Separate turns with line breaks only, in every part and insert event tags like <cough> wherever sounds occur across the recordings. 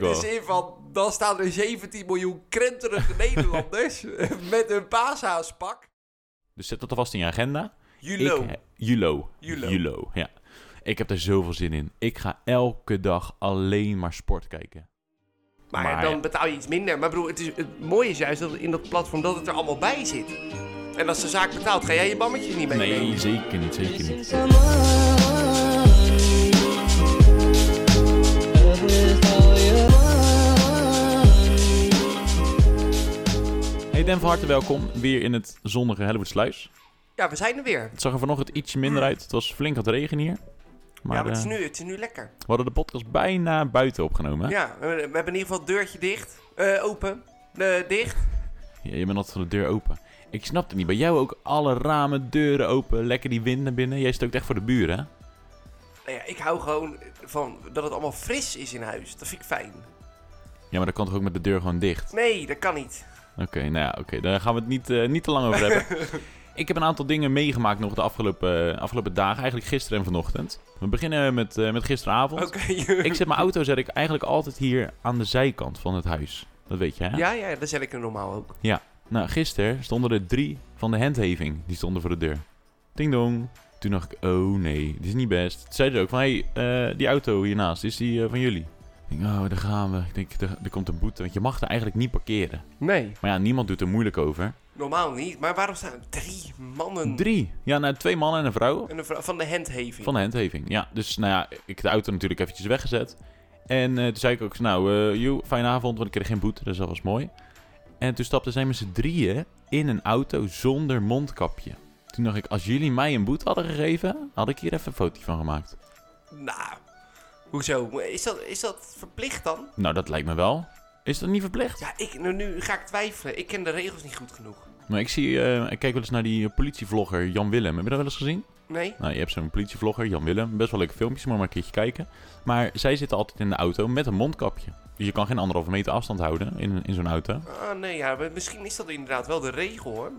wel.
In de zin van, dan staan er 17 miljoen krenterige Nederlanders <laughs> met hun paashaaspak.
Dus zet dat alvast in je agenda.
Julo.
Ik, eh, Julo.
Julo.
Julo, ja. Ik heb er zoveel zin in. Ik ga elke dag alleen maar sport kijken.
Maar,
Maar ja.
dan betaal je iets minder. Maar broer, het, is, het mooie is juist dat in dat platform dat het er allemaal bij zit. En als de zaak betaalt, ga jij je bammetjes niet mee.
Nee, zeker niet, zeker niet. Hey Den, van harte welkom weer in het zonnige Hellevoetsluis.
Ja, we zijn er weer.
Het zag er vanochtend ietsje minder uit. Het was flink wat regen hier. Maar,
ja, maar het is,
eh,
nu, het is nu lekker.
we hadden de podcast bijna buiten opgenomen. hè?
Ja, we, we hebben in ieder geval het deurtje dicht. Eh, open. Eh, dicht.
Ja, je bent altijd van de deur open. Ik snap het niet. Bij jou ook alle ramen, deuren open, lekker die wind naar binnen. Jij stookt echt voor de buren, hè?
Nou ja, ik hou gewoon van dat het allemaal fris is in huis. Dat vind ik fijn.
Ja, maar dat kan toch ook met de deur gewoon dicht?
Nee, dat kan niet.
Oké, nou ja, oké. Daar gaan we het niet, eh, niet te lang over hebben. Ik heb een aantal dingen meegemaakt nog de afgelopen, eh, afgelopen dagen. Eigenlijk gisteren en vanochtend. We beginnen met, eh, met gisteravond.
Oké.
Ik zet mijn auto zet ik eigenlijk altijd hier aan de zijkant van het huis. Dat weet je,
<laughs>
hè?
Ja, ja, dat zet ik er normaal ook.
Nou, gisteren stonden er drie van de handheving. Die stonden voor de deur. Ding dong. Toen dacht ik, oh nee, dit is niet best. Toen zeiden ze ook van, hé, hey, eh, die auto hiernaast, is die eh, van jullie? Ik denk, oh, daar gaan we. Ik denk, er, er komt een boete, want je mag er eigenlijk niet parkeren.
Nee.
Maar ja, niemand doet er moeilijk over.
Normaal niet. Maar waarom staan er drie mannen
Drie. Ja, nou, twee mannen en een vrouw
en een vrou- van de handheving?
van de handheving. Ja, dus nou ja, ik heb de auto natuurlijk eventjes weggezet. En eh, toen zei ik ook, nou, eh joe, fijne avond, want ik kreeg geen boete, dus dat was mooi. En toen stapten zij met z'n drieën in een auto zonder mondkapje. Toen dacht ik, als jullie mij een boete hadden gegeven, had ik hier even een foto van gemaakt.
Nou, hoezo? Is dat, is dat verplicht dan?
Nou, dat lijkt me wel. Is dat niet verplicht?
Ja, ik, nu, nu ga ik twijfelen. Ik ken de regels niet goed genoeg.
Maar ik zie, eh, ik kijk wel eens naar die eh, politievlogger Jan Willem. Heb je dat wel eens gezien?
Nee?
Nou, je hebt zo'n politievlogger, Jan Willem. Best wel leuke filmpjes, moet je maar een keertje kijken. Maar zij zitten altijd in de auto met een mondkapje. Dus je kan geen anderhalve meter afstand houden in, in zo'n auto. Ik
Ah, nee, ja, maar misschien is dat inderdaad wel de regel, hoor.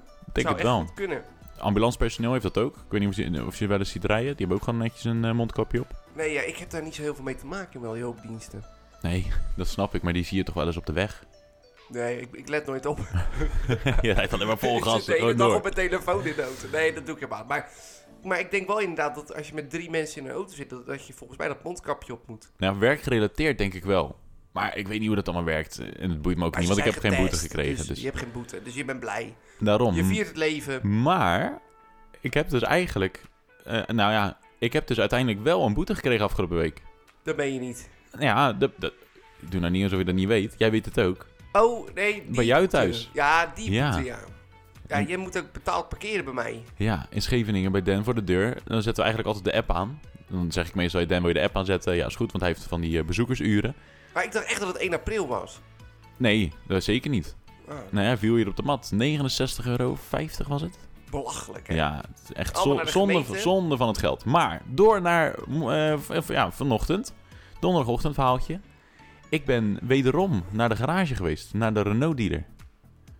Zou
denk het
echt
wel.
goed kunnen.
Ambulancepersoneel heeft dat ook. Ik weet niet of je, of je wel eens ziet rijden. Die hebben ook gewoon netjes een eh, mondkapje op.
Nee, ja, ik heb daar niet zo heel veel mee te maken in wel die hulpdiensten.
Nee, <laughs> dat snap ik, maar die zie je toch wel eens op de weg.
Nee, ik, ik let nooit op.
<laughs> je rijdt alleen maar
<laughs>
vol
ik zit
gas
de hele
gewoon
dag
door.
op mijn telefoon in de auto. Nee, dat doe ik helemaal. niet. Maar, maar ik denk wel inderdaad dat als je met drie mensen in een auto zit, dat, dat je volgens mij dat mondkapje op moet.
Nou, werkgerelateerd denk ik wel. Maar ik weet niet hoe dat allemaal werkt. En het boeit me ook
Maar
niet,
ze
want ik heb
zijn
geen boete
getest,
gekregen.
Dus,
Dus
Je hebt geen boete, dus je bent blij.
daarom.
Je viert het leven.
Maar ik heb dus eigenlijk... eh, nou ja, ik heb dus uiteindelijk wel een boete gekregen afgelopen week.
Dat ben je niet.
Ja, dat, dat, doe nou niet alsof je dat niet weet. Jij weet het ook.
Oh, nee. die
Bij jou
boete.
thuis?
Ja, die
Ja.
boete, ja. Ja, jij moet ook betaald parkeren bij mij.
Ja, in Scheveningen bij Dan voor de deur. Dan zetten we eigenlijk altijd de app aan. Dan zeg ik meestal, hey, Dan wil je de app aanzetten? Ja, is goed, want hij heeft van die eh, bezoekersuren.
Maar ik dacht echt dat het 1 april was.
Nee, dat zeker niet.
Ah,
Nou ja, viel hier op de mat. 69,50 euro was het.
belachelijk, hè?
Ja, het is echt
Allemaal
zo-
naar de
zonde,
gemeente.
zonde van het geld. Maar door naar eh, v- ja, vanochtend, donderdagochtend verhaaltje. Ik ben wederom naar de garage geweest, naar de Renault dealer.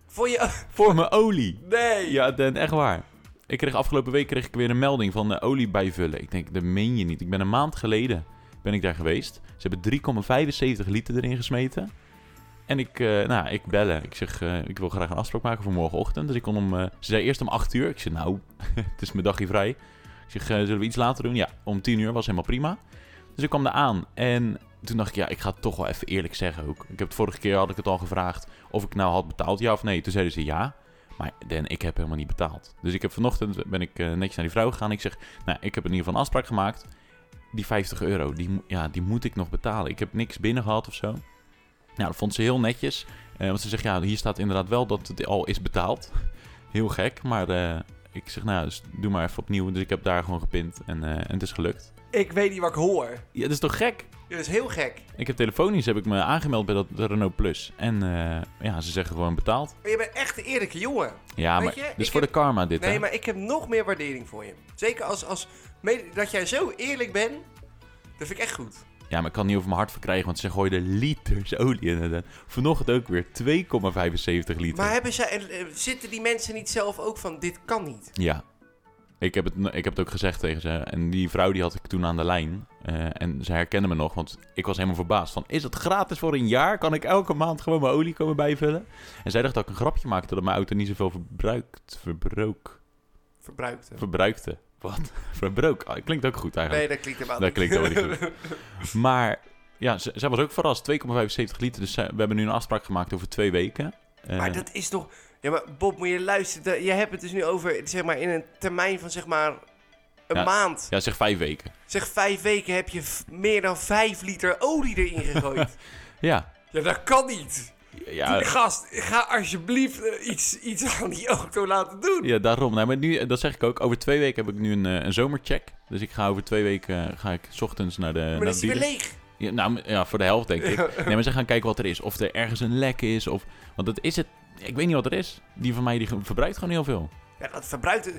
Voor je... <laughs>
Voor mijn olie.
Nee!
Ja, Den, echt waar. Ik kreeg afgelopen week kreeg ik weer een melding van eh, olie bijvullen. Ik denk, dat meen je niet. Ik ben een maand geleden ben ik daar geweest. Ze hebben 3,75 liter erin gesmeten. En ik, eh, nou, ik bellen. Ik zeg, eh, ik wil graag een afspraak maken voor morgenochtend. Dus ik kon om, eh, ze zei eerst om 8 uur. Ik zei, nou, <laughs> het is mijn dagje vrij. Ik zeg, eh, zullen we iets later doen? Ja, om 10 uur was helemaal prima. Dus ik kwam daar aan en toen dacht ik, ja, ik ga het toch wel even eerlijk zeggen ook. Ik heb het vorige keer had ik het al gevraagd of ik nou had betaald, ja of nee. Toen zeiden ze ja. Maar Dan, ik heb helemaal niet betaald. Dus ik heb vanochtend ben ik eh, netjes naar die vrouw gegaan. Ik zeg, nou, ik heb in ieder geval een afspraak gemaakt. Die 50 euro, die, mo- ja, die moet ik nog betalen. Ik heb niks binnen gehad of zo. Nou, dat vond ze heel netjes. Eh, want ze zegt, ja, hier staat inderdaad wel dat het al is betaald. <laughs> Heel gek, maar eh, ik zeg, nou, dus doe maar even opnieuw. Dus ik heb daar gewoon gepind en, eh, en het is gelukt.
Ik weet niet wat ik hoor.
Ja, dat is toch gek?
Dat is heel gek.
Ik heb telefonisch heb ik me aangemeld bij dat Renault Plus. En eh, ja, ze zeggen gewoon betaald.
Maar je bent echt een eerlijke jongen.
Ja,
Weet
maar
je,
dus
ik
voor
heb-
de karma dit,
Nee,
hè?
maar ik heb nog meer waardering voor je. Zeker als, als mede- dat jij zo eerlijk bent. Dat vind ik echt goed.
Ja, maar ik kan het niet over mijn hart verkrijgen, want ze gooiden liters olie in. het- Vanochtend ook weer 2,75 liter.
Maar hebben zij, en, eh, zitten die mensen niet zelf ook van dit kan niet?
Ja. Ik heb, het, ik heb het ook gezegd tegen ze. En die vrouw die had ik toen aan de lijn. Eh, en ze herkende me nog, want ik was helemaal verbaasd. Van, is het gratis voor een jaar? Kan ik elke maand gewoon mijn olie komen bijvullen? En zij dacht dat ik een grapje maakte dat mijn auto niet zoveel verbruikt. Verbrook.
verbruikt. hè.
Verbruikte. Wat? <laughs> Verbrook. Ah, klinkt ook goed eigenlijk.
Nee, dat klinkt helemaal
Dat
niet.
klinkt helemaal niet Maar ja, ze- zij was ook verrast. 2,75 liter. Dus zij- we hebben nu een afspraak gemaakt over twee weken. Eh,
<laughs> Maar dat is toch... Ja, maar Bob, moet je luisteren. Dat- Je hebt het dus nu over, zeg maar, in een termijn van, zeg maar, een
Ja.
maand.
Ja, zeg vijf weken.
Zeg, vijf weken heb je v- meer dan vijf liter olie erin
<laughs>
gegooid.
Ja.
ja, dat kan niet.
Ja,
Die gast, ga alsjeblieft eh, iets, iets aan die auto laten doen.
Ja, daarom. Nou, maar nu, eh, dat zeg ik ook. Over twee weken heb ik nu een, eh, een zomercheck. Dus ik ga over twee weken eh, ga ik 's ochtends naar de.
maar
naar
dan
de
is hij weer
dealer.
leeg.
Ja, nou, m- ja, voor de helft denk ik. Nee, maar ze gaan kijken wat er is. Of er ergens een lek is. Of, want dat is het. Ik weet niet wat er is. Die van mij die ge- verbruikt gewoon heel veel.
Ja, dat verbruikt...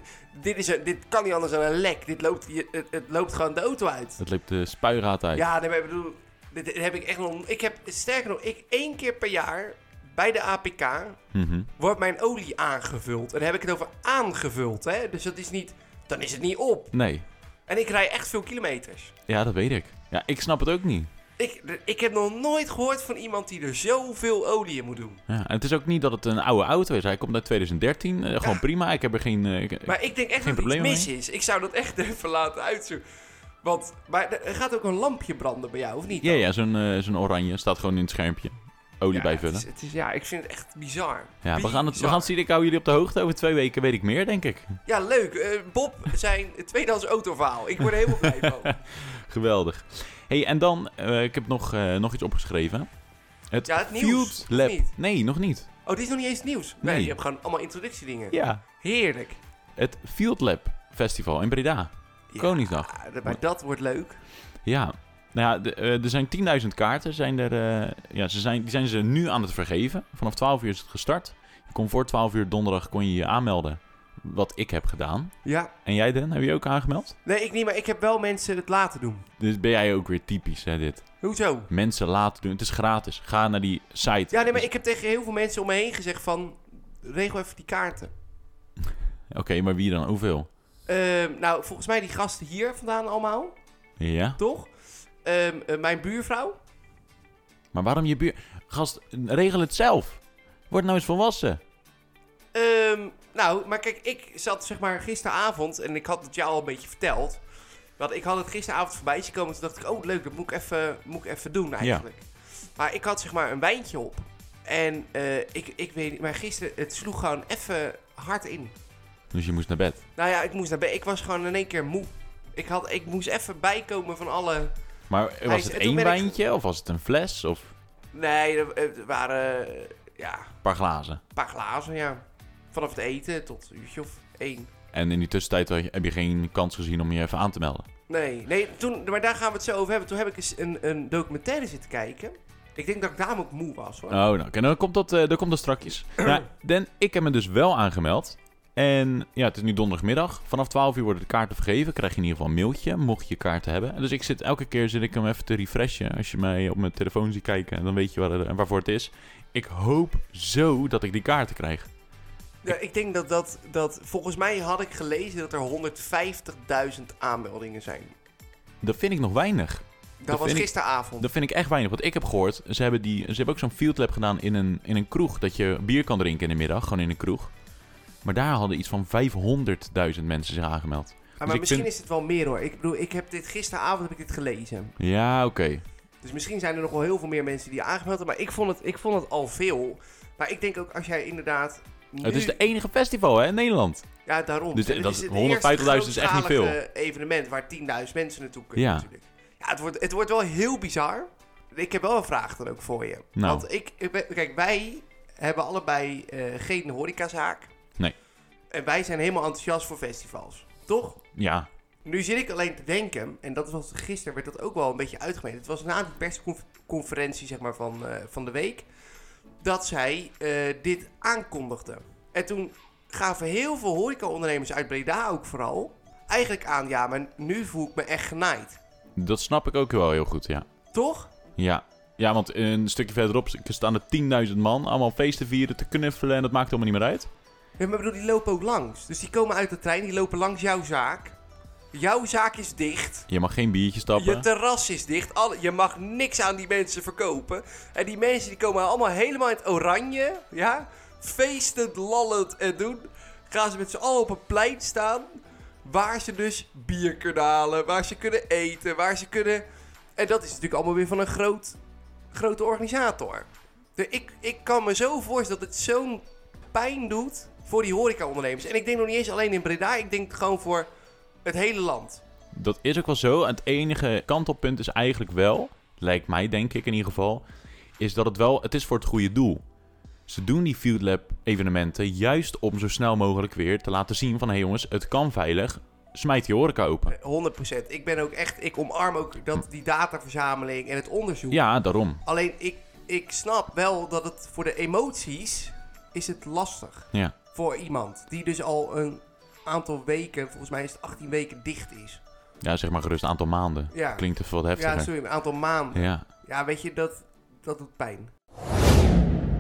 Dit, is een, dit kan niet anders dan een lek. Dit loopt, hier- het, het loopt gewoon de auto uit.
Dat loopt de spuigraad uit.
Ja, nee, maar ik bedoel... Dit dit heb ik echt nog... Ik heb, sterker nog, ik één keer per jaar bij de APK
Mhm.
wordt mijn olie aangevuld. En dan heb ik het over aangevuld, hè. Dus dat is niet... Dan is het niet op.
Nee.
En ik rij echt veel kilometers.
Ja, dat weet ik. Ja, ik snap het ook niet.
Ik, ik heb nog nooit gehoord van iemand die er zoveel olie in moet doen.
Ja, en het is ook niet dat het een oude auto is. Hij komt uit 2013. eh, gewoon prima. Ik heb er geen. eh, ik-
Maar ik denk echt
Geen
dat er iets
probleem
mis is. Ik zou dat echt <laughs> even laten uitzoeken. Want, maar er gaat ook een lampje branden bij jou, of niet?
ja,
dan?
ja, zo'n eh, zo'n oranje staat gewoon in het schermpje. Olie
Ja,
bijvullen.
Het is, het is- ja, ik vind het echt bizar.
Ja, we
Bizar.
gaan, het, we gaan het zien. Ik hou jullie op de hoogte. Over twee weken weet ik meer, denk ik.
Ja, leuk. Eh, Bob, zijn <laughs> tweedehands autoverhaal. Ik word er helemaal blij van.
Geweldig. hey, en dan, eh, ik heb nog, eh, nog iets opgeschreven. Het
Ja, het nieuws,
Field
of
Lab.
niet?
Nee, nog niet.
Oh, dit is nog niet eens nieuws. Nee,
Nee.
je hebt gewoon allemaal introductiedingen.
Ja.
Heerlijk.
Het Field Lab Festival in Breda.
Ja,
Koningsdag.
ah, Maar dat wordt leuk.
Ja. Nou ja, de- eh, er zijn 10.000 kaarten. Zijn er, eh, ja, ze zijn, die zijn ze nu aan het vergeven. Vanaf 12 uur is het gestart. Je kon voor 12 uur donderdag kon je je aanmelden. Wat ik heb gedaan.
Ja.
En jij, Den, heb je je ook aangemeld?
Nee, ik niet, maar ik heb wel mensen het laten doen.
Dus ben jij ook weer typisch, hè, dit.
Hoezo?
Mensen laten doen. Het is gratis. Ga naar die site.
Ja, nee, maar ik heb tegen heel veel mensen om me heen gezegd van... Regel even die kaarten.
Oké, maar wie dan? Hoeveel?
Ehm, nou, volgens mij die gasten hier vandaan allemaal,
Ja?
toch? Ehm, eh, mijn buurvrouw.
Maar waarom je buur... Gast, regel het zelf. Word nou eens volwassen.
Ehm, nou, maar kijk, ik zat zeg maar gisteravond... En ik had het jou al een beetje verteld. Want ik had het gisteravond voorbij zien komen. Toen dacht ik, oh leuk, dat moet ik even, moet ik even doen eigenlijk. Maar ik had zeg maar een wijntje op. En eh, ik, ik weet niet, maar gisteren... Het sloeg gewoon even hard in.
Dus je moest naar bed.
Nou ja, ik moest naar bed. Ik was gewoon in één keer moe. Ik, had, ik moest even bijkomen van alle...
Maar
Hij
was
is-
het
en toen
één
ben ik-
wijntje? Of was het een fles? Of
Nee, er, er waren eh, ja,
een paar glazen?
een paar glazen, ja. Vanaf het eten tot een uurtje of één.
En in die tussentijd had je- heb je geen kans gezien om je even aan te melden.
Nee, nee toen, maar daar gaan we het zo over hebben. Toen heb ik eens een, een documentaire zitten kijken. Ik denk dat ik daarom ook moe was, hoor.
Oh, nou, oké, nou, dan komt dat, eh dan komt dat strakjes. nou, Dan, ik heb me dus wel aangemeld. En ja, het is nu donderdagmiddag. Vanaf 12 uur worden de kaarten vergeven. Krijg je in ieder geval een mailtje, mocht je kaarten hebben. En Dus ik zit elke keer zit ik hem even te refreshen. Als je mij op mijn telefoon ziet kijken, dan weet je waar het- waarvoor het is. Ik hoop zo dat ik die kaarten krijg.
Ja, ik denk dat, dat dat... Volgens mij had ik gelezen dat er 150.000 aanmeldingen zijn.
Dat vind ik nog weinig.
Dat,
Dat
was
vind ik-
gisteravond.
Dat vind ik echt weinig. Want ik heb gehoord, ze hebben, die, ze hebben ook zo'n field lab gedaan in een, in een kroeg. Dat je bier kan drinken in de middag, gewoon in een kroeg. Maar daar hadden iets van 500.000 mensen zich aangemeld.
maar
dus ik
misschien
vind-
is het wel meer, hoor. Ik bedoel, ik heb dit gisteravond heb ik dit gelezen.
Ja, oké.
Dus misschien zijn er nog wel heel veel meer mensen die aangemeld hebben. Maar ik vond, het, ik vond het al veel. Maar ik denk ook als jij inderdaad. Nu,
Het is het enige festival hè, in Nederland.
Ja, daarom.
dus
En het
dat-
het
150.000 is echt niet veel.
eerste grootschalige evenement waar 10.000 mensen naartoe kunnen.
Ja.
Natuurlijk. Ja, het wordt, het wordt wel heel bizar. Ik heb wel een vraag dan ook voor je.
Nou.
Want ik, ik ben- kijk, wij hebben allebei eh, geen horecazaak.
Nee.
En wij zijn helemaal enthousiast voor festivals. Toch?
Ja,
Nu zit ik alleen te denken, en dat was gisteren, werd dat ook wel een beetje uitgemeten. Het was na die persconferentie zeg maar, van, eh, van de week, dat zij eh, dit aankondigden. En toen gaven heel veel horecaondernemers uit Breda ook vooral eigenlijk aan, ja, maar nu voel ik me echt genaaid.
dat snap ik ook wel heel goed, ja.
Toch?
Ja, ja want een stukje verderop staan er 10.000 man. Allemaal feesten vieren, te knuffelen en dat maakt allemaal niet meer uit.
Ja, maar ik bedoel, die lopen ook langs. Dus die komen uit de trein, die lopen langs jouw zaak. Jouw zaak is dicht.
Je mag geen biertje stappen.
Je terras is dicht. Alle, je mag niks aan die mensen verkopen. En die mensen die komen allemaal helemaal in het oranje. Ja? Feestend, lallend en doen. Gaan ze met z'n allen op een plein staan. Waar ze dus bier kunnen halen. Waar ze kunnen eten. Waar ze kunnen... En dat is natuurlijk allemaal weer van een groot, grote organisator. De, ik, ik kan me zo voorstellen dat het zo'n pijn doet voor die horecaondernemers. En ik denk nog niet eens alleen in Breda. Ik denk gewoon voor het hele land.
Dat is ook wel zo. En het enige kantelpunt is eigenlijk wel, lijkt mij denk ik in ieder geval, is dat het wel, het is voor het goede doel. Ze doen die Field Lab evenementen juist om zo snel mogelijk weer te laten zien van, hé hey jongens, het kan veilig, smijt die horeca
Eh,
open.
100%. Ik ben ook echt, ik omarm ook dat, die dataverzameling en het onderzoek.
Ja, daarom.
Alleen ik, ik snap wel dat het voor de emoties is het lastig
Ja.
voor iemand die dus al een aantal weken, volgens mij is het 18 weken dicht is.
Ja, zeg maar gerust een aantal maanden.
Ja.
Klinkt even wat heftiger.
Ja, sorry, een aantal maanden. Ja,
Ja.
weet je, dat, dat doet pijn.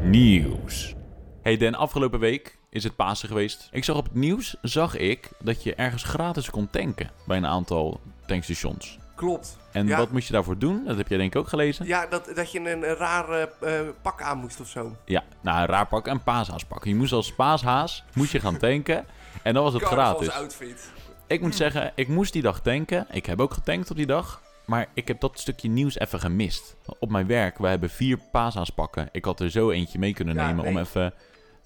Nieuws. Hey Den, afgelopen week is het Pasen geweest. Ik zag op het nieuws zag ik dat je ergens gratis kon tanken bij een aantal tankstations.
Klopt.
En
Ja.
wat moest je daarvoor doen? Dat heb jij denk ik ook gelezen.
Ja, dat, dat je een eh, raar eh, eh, pak aan moest of zo.
Ja, nou een raar pak en paashaas pakken. Je moest als paashaas moest je gaan tanken. En dan was het gratis.
outfit.
Ik moet zeggen, ik moest die dag tanken. Ik heb ook getankt op die dag. Maar ik heb dat stukje nieuws even gemist. Op mijn werk, we hebben vier paashaaspakken. Ik had er zo eentje mee kunnen
Ja,
nemen om
nee.
even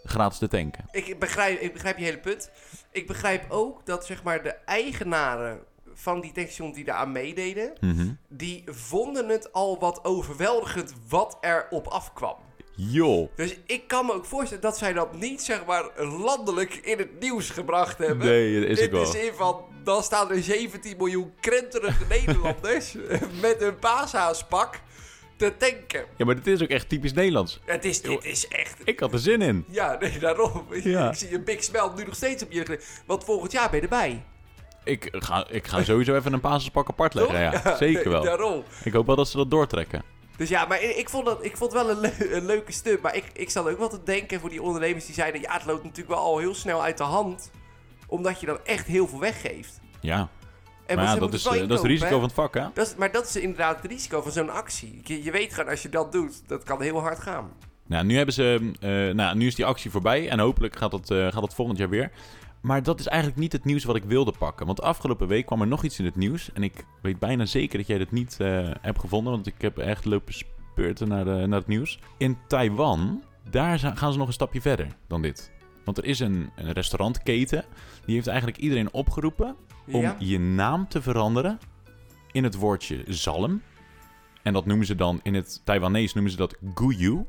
gratis te tanken.
Ik begrijp, ik begrijp je hele punt. Ik begrijp ook dat zeg maar, de eigenaren van die tankstations die daaraan meededen...
Mhm.
die vonden het al wat overweldigend wat er op afkwam.
Joh.
Dus ik kan me ook voorstellen dat zij dat niet zeg maar, landelijk in het nieuws gebracht hebben.
Nee, dat is
in
ook
de
wel.
zin van, dan staan er 17 miljoen krenterige
<laughs>
Nederlanders eh, met hun paashaaspak te tanken.
Ja, maar dit is ook echt typisch Nederlands.
Het is, dit is echt
Ik had er zin in.
Ja, nee, daarom.
Ja.
Ik zie een big smell nu nog steeds op je gezicht. Want volgend jaar ben je erbij.
Ik ga, ik ga sowieso even een paashaaspak apart leggen.
Toch?
Ja,
<laughs> Ja,
zeker
nee,
wel.
Daarom.
Ik hoop wel dat ze dat doortrekken.
Dus ja, maar ik vond, dat, ik vond wel een, le- een leuke stunt. Maar ik, ik zat ook wel te denken voor die ondernemers die zeiden... Ja, het loopt natuurlijk wel al heel snel uit de hand. Omdat je dan echt heel veel weggeeft.
Ja,
En
maar
ze
ja, dat,
moeten
is,
het wel
eh, dat is
inkopen,
het risico
hè?
van het vak, hè?
Dat is, maar dat is inderdaad het risico van zo'n actie. Je, je weet gewoon, als je dat doet, dat kan heel hard gaan.
Nou, nu, hebben ze, eh, nou, nu is die actie voorbij en hopelijk gaat dat, eh, gaat dat volgend jaar weer. Maar dat is eigenlijk niet het nieuws wat ik wilde pakken. Want afgelopen week kwam er nog iets in het nieuws. En ik weet bijna zeker dat jij dat niet eh, hebt gevonden. Want ik heb echt lopen speurten naar, de, naar het nieuws. In Taiwan, daar za- gaan ze nog een stapje verder dan dit. Want er is een, een restaurantketen. Die heeft eigenlijk iedereen opgeroepen om
Ja?
je naam te veranderen in het woordje zalm. En dat noemen ze dan in het Taiwanese noemen ze dat guyu.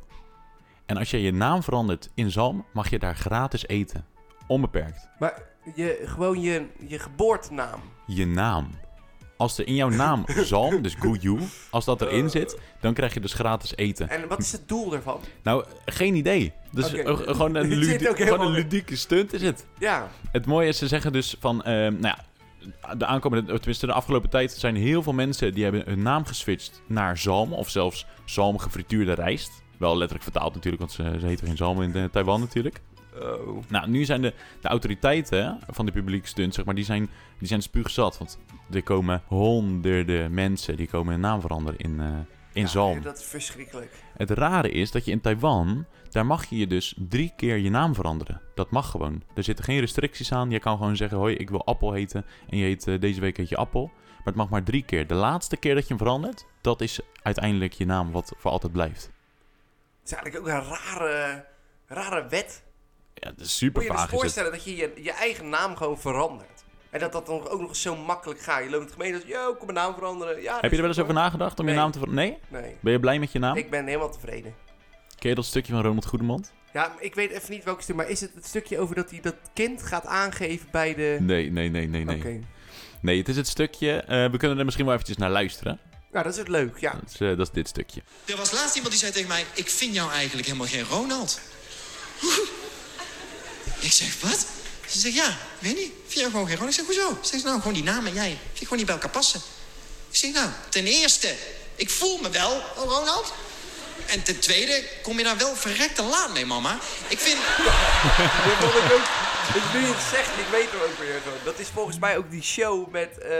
En als je je naam verandert in zalm, mag je daar gratis eten. Onbeperkt.
Maar je, gewoon je, je geboortenaam.
Je naam. Als er in jouw
<laughs>
naam zalm, dus guyu, als dat erin zit, dan krijg je dus gratis eten.
En wat is het doel daarvan?
Nou, geen idee. Dus
Oké.
eh,
<laughs>
gewoon een,
Ik zit
ludie-
ook
gewoon een
helemaal-
ludieke stunt is het.
Ja,
Het mooie is, ze zeggen dus van, ehm, nou ja, de aankomende, of tenminste de afgelopen tijd zijn heel veel mensen die hebben hun naam geswitcht naar zalm of zelfs zalm gefrituurde rijst. Wel letterlijk vertaald natuurlijk, want ze, ze heten geen zalm in eh, Taiwan natuurlijk.
oh.
Nou, nu zijn de, de autoriteiten van de publieke stunt, zeg maar, die zijn, die zijn spuugzat. Want er komen honderden mensen die komen hun naam veranderen in, eh, in
Ja,
zalm.
Dat is verschrikkelijk.
Het rare is dat je in Taiwan, daar mag je je dus drie keer je naam veranderen. Dat mag gewoon. Er zitten geen restricties aan. Je kan gewoon zeggen, hoi, ik wil Appel heten. En je heet, eh, deze week heet je Appel. Maar het mag maar drie keer. De laatste keer dat je hem verandert, dat is uiteindelijk je naam wat voor altijd blijft.
Het is eigenlijk ook een rare, rare wet.
Ja, dat is
Moet
super
je je dus
vaag. Is het.
voorstellen dat je, je je eigen naam gewoon verandert. En dat dat dan ook nog eens zo makkelijk gaat. Je loopt in het gemeen en zegt, yo, ik kom mijn naam veranderen. Ja,
Heb je er wel eens over nagedacht om je
Nee.
naam te veranderen? Nee?
Nee,
Ben je blij met je naam?
ik ben helemaal tevreden.
Ken je dat stukje van Ronald Goedemond?
Ja, maar ik weet even niet welk stuk, maar is het het stukje over dat hij dat kind gaat aangeven bij de...
Nee, nee, nee, nee, nee.
Oké.
Nee, het is het stukje... eh, we kunnen er misschien wel eventjes naar luisteren.
Nou, dat is het leuk,
<laughs>
ja.
Dat is, eh, dat is dit stukje.
Er was laatst iemand die zei tegen mij: Ik vind jou eigenlijk helemaal geen Ronald. ik zeg: Wat? Ze zegt: Ja, ik weet niet. Ik Vind jou gewoon geen Ronald? Ik zeg: Hoezo? Ze zegt: Nou, gewoon die naam en jij. Vind ik gewoon niet bij elkaar passen. Ik zeg: Nou, ten eerste, ik voel me wel een Ronald. En ten tweede, kom je daar wel verrekte laat mee, mama. Ik vind...
Dit vond ik ook. Ik nu je het zegt, ik weet er ook weer gewoon. Dat is volgens mij ook die show met, eh,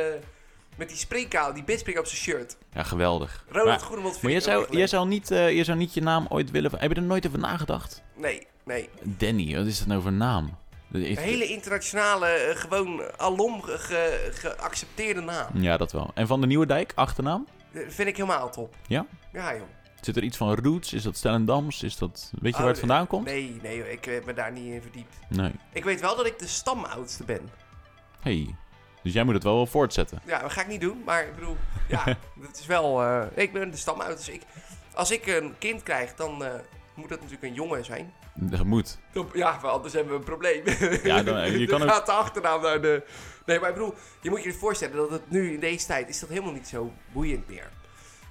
met die spreekkaal, die bedspreek op zijn shirt.
Ja, geweldig.
Ronald
Maar-
Groenewold vind
Maar jij
ik ook
zou,
echt
jij,
leuk.
zou niet, eh, jij zou niet je naam ooit willen... Heb je er nooit over nagedacht?
Nee, nee.
Danny, wat is dat nou voor naam? Dat is-
Een hele internationale, eh, gewoon alom ge- ge- geaccepteerde naam.
Ja, dat wel. En Van de Nieuwe Dijk, achternaam?
Eh, vind ik helemaal top.
Ja?
Ja, joh.
Zit er iets van roots? Is dat Stellendams? Is dat... Weet je
Oh,
waar het vandaan komt?
Nee, nee, joh, ik heb me daar niet in verdiept.
Nee.
Ik weet wel dat ik de stamoudste ben.
Hey. Dus jij moet het wel wel voortzetten.
Ja, dat ga ik niet doen, maar ik bedoel,
<laughs>
ja, dat is wel. eh, ik ben de stamoudste. Dus ik, als ik een kind krijg, dan eh, moet dat natuurlijk een jongen zijn.
Dat moet.
Dan- Ja, maar anders hebben we een probleem.
Ja,
<laughs>
dan- je kan ook-
gaat de achternaam naar de... Nee, maar ik bedoel, je moet je dus voorstellen dat het nu in deze tijd... is dat helemaal niet zo boeiend meer.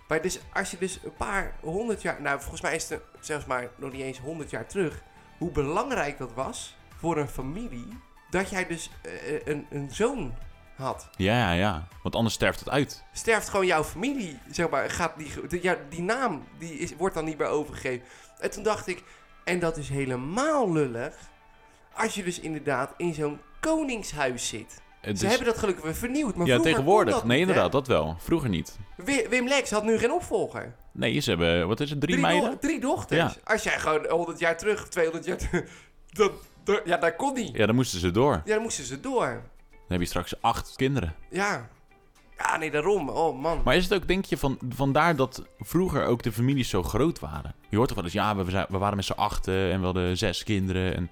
Maar dus als je dus een paar honderd jaar... Nou, volgens mij is het zelfs maar nog niet eens honderd jaar terug... hoe belangrijk dat was voor een familie... dat jij dus eh, een, een zoon had.
Ja, ja, ja. Want anders sterft het uit.
Sterft gewoon jouw familie, zeg maar. Gaat die, die- ja, die naam die is, wordt dan niet meer overgegeven. En toen dacht ik, en dat is helemaal lullig... als je dus inderdaad in zo'n koningshuis zit...
Het
Ze
is-
hebben dat gelukkig weer vernieuwd. Maar
ja,
vroeger
tegenwoordig.
kon dat
nee,
niet, hè?
inderdaad. Dat wel. Vroeger niet.
Wi- Wim Lex had nu geen opvolger.
Nee, ze hebben... Wat is het? Drie, meiden?
do- drie dochters.
Ja.
Als jij gewoon 100 jaar terug, of 200 jaar terug... <laughs> Dat, dat- ja, dat kon niet.
Ja, dan moesten ze door.
Ja, dan moesten ze door.
Dan heb je straks acht kinderen.
Ja. Ja, nee, daarom. Oh, man.
Maar is het ook, denk je, van, vandaar dat vroeger ook de families zo groot waren? Je hoort toch wel eens, ja, we, zijn- we waren met z'n achten en we hadden zes kinderen. En...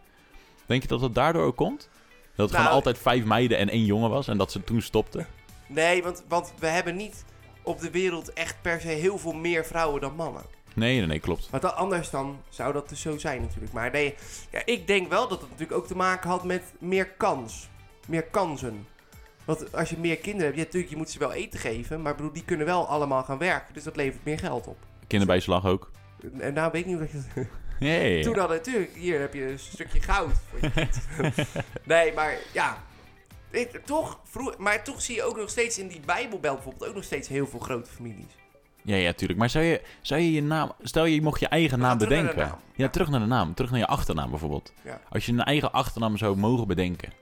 Denk je dat dat daardoor ook komt? Dat
Nou,
het gewoon altijd vijf meiden en één jongen was en dat ze toen stopten?
Nee, want, want we hebben niet op de wereld echt per se heel veel meer vrouwen dan mannen.
Nee, nee, nee, klopt.
Want dan- anders dan zou dat dus zo zijn natuurlijk. Maar nee, ja, ik denk wel dat het natuurlijk ook te maken had met meer kans. Meer kansen. Want als je meer kinderen hebt, ja, natuurlijk, je moet ze wel eten geven. Maar ik bedoel, die kunnen wel allemaal gaan werken. Dus dat levert meer geld op.
Kinderbijslag ook.
En- En nou weet ik niet of dat je...
Nee.
Toen hadden natuurlijk, hier heb je een stukje goud. Voor je
<laughs>
kind. nee, maar ja. Ik, toch, vroeg, maar toch zie je ook nog steeds in die Bijbelbel bijvoorbeeld ook nog steeds heel veel grote families.
Ja, ja, tuurlijk. Maar zou je, zou je je naam... Stel, je mocht je eigen naam
gaan terug naar de
bedenken.
naam.
Ja, terug naar de naam. Terug naar je achternaam bijvoorbeeld.
Ja.
Als je een eigen achternaam zou mogen bedenken.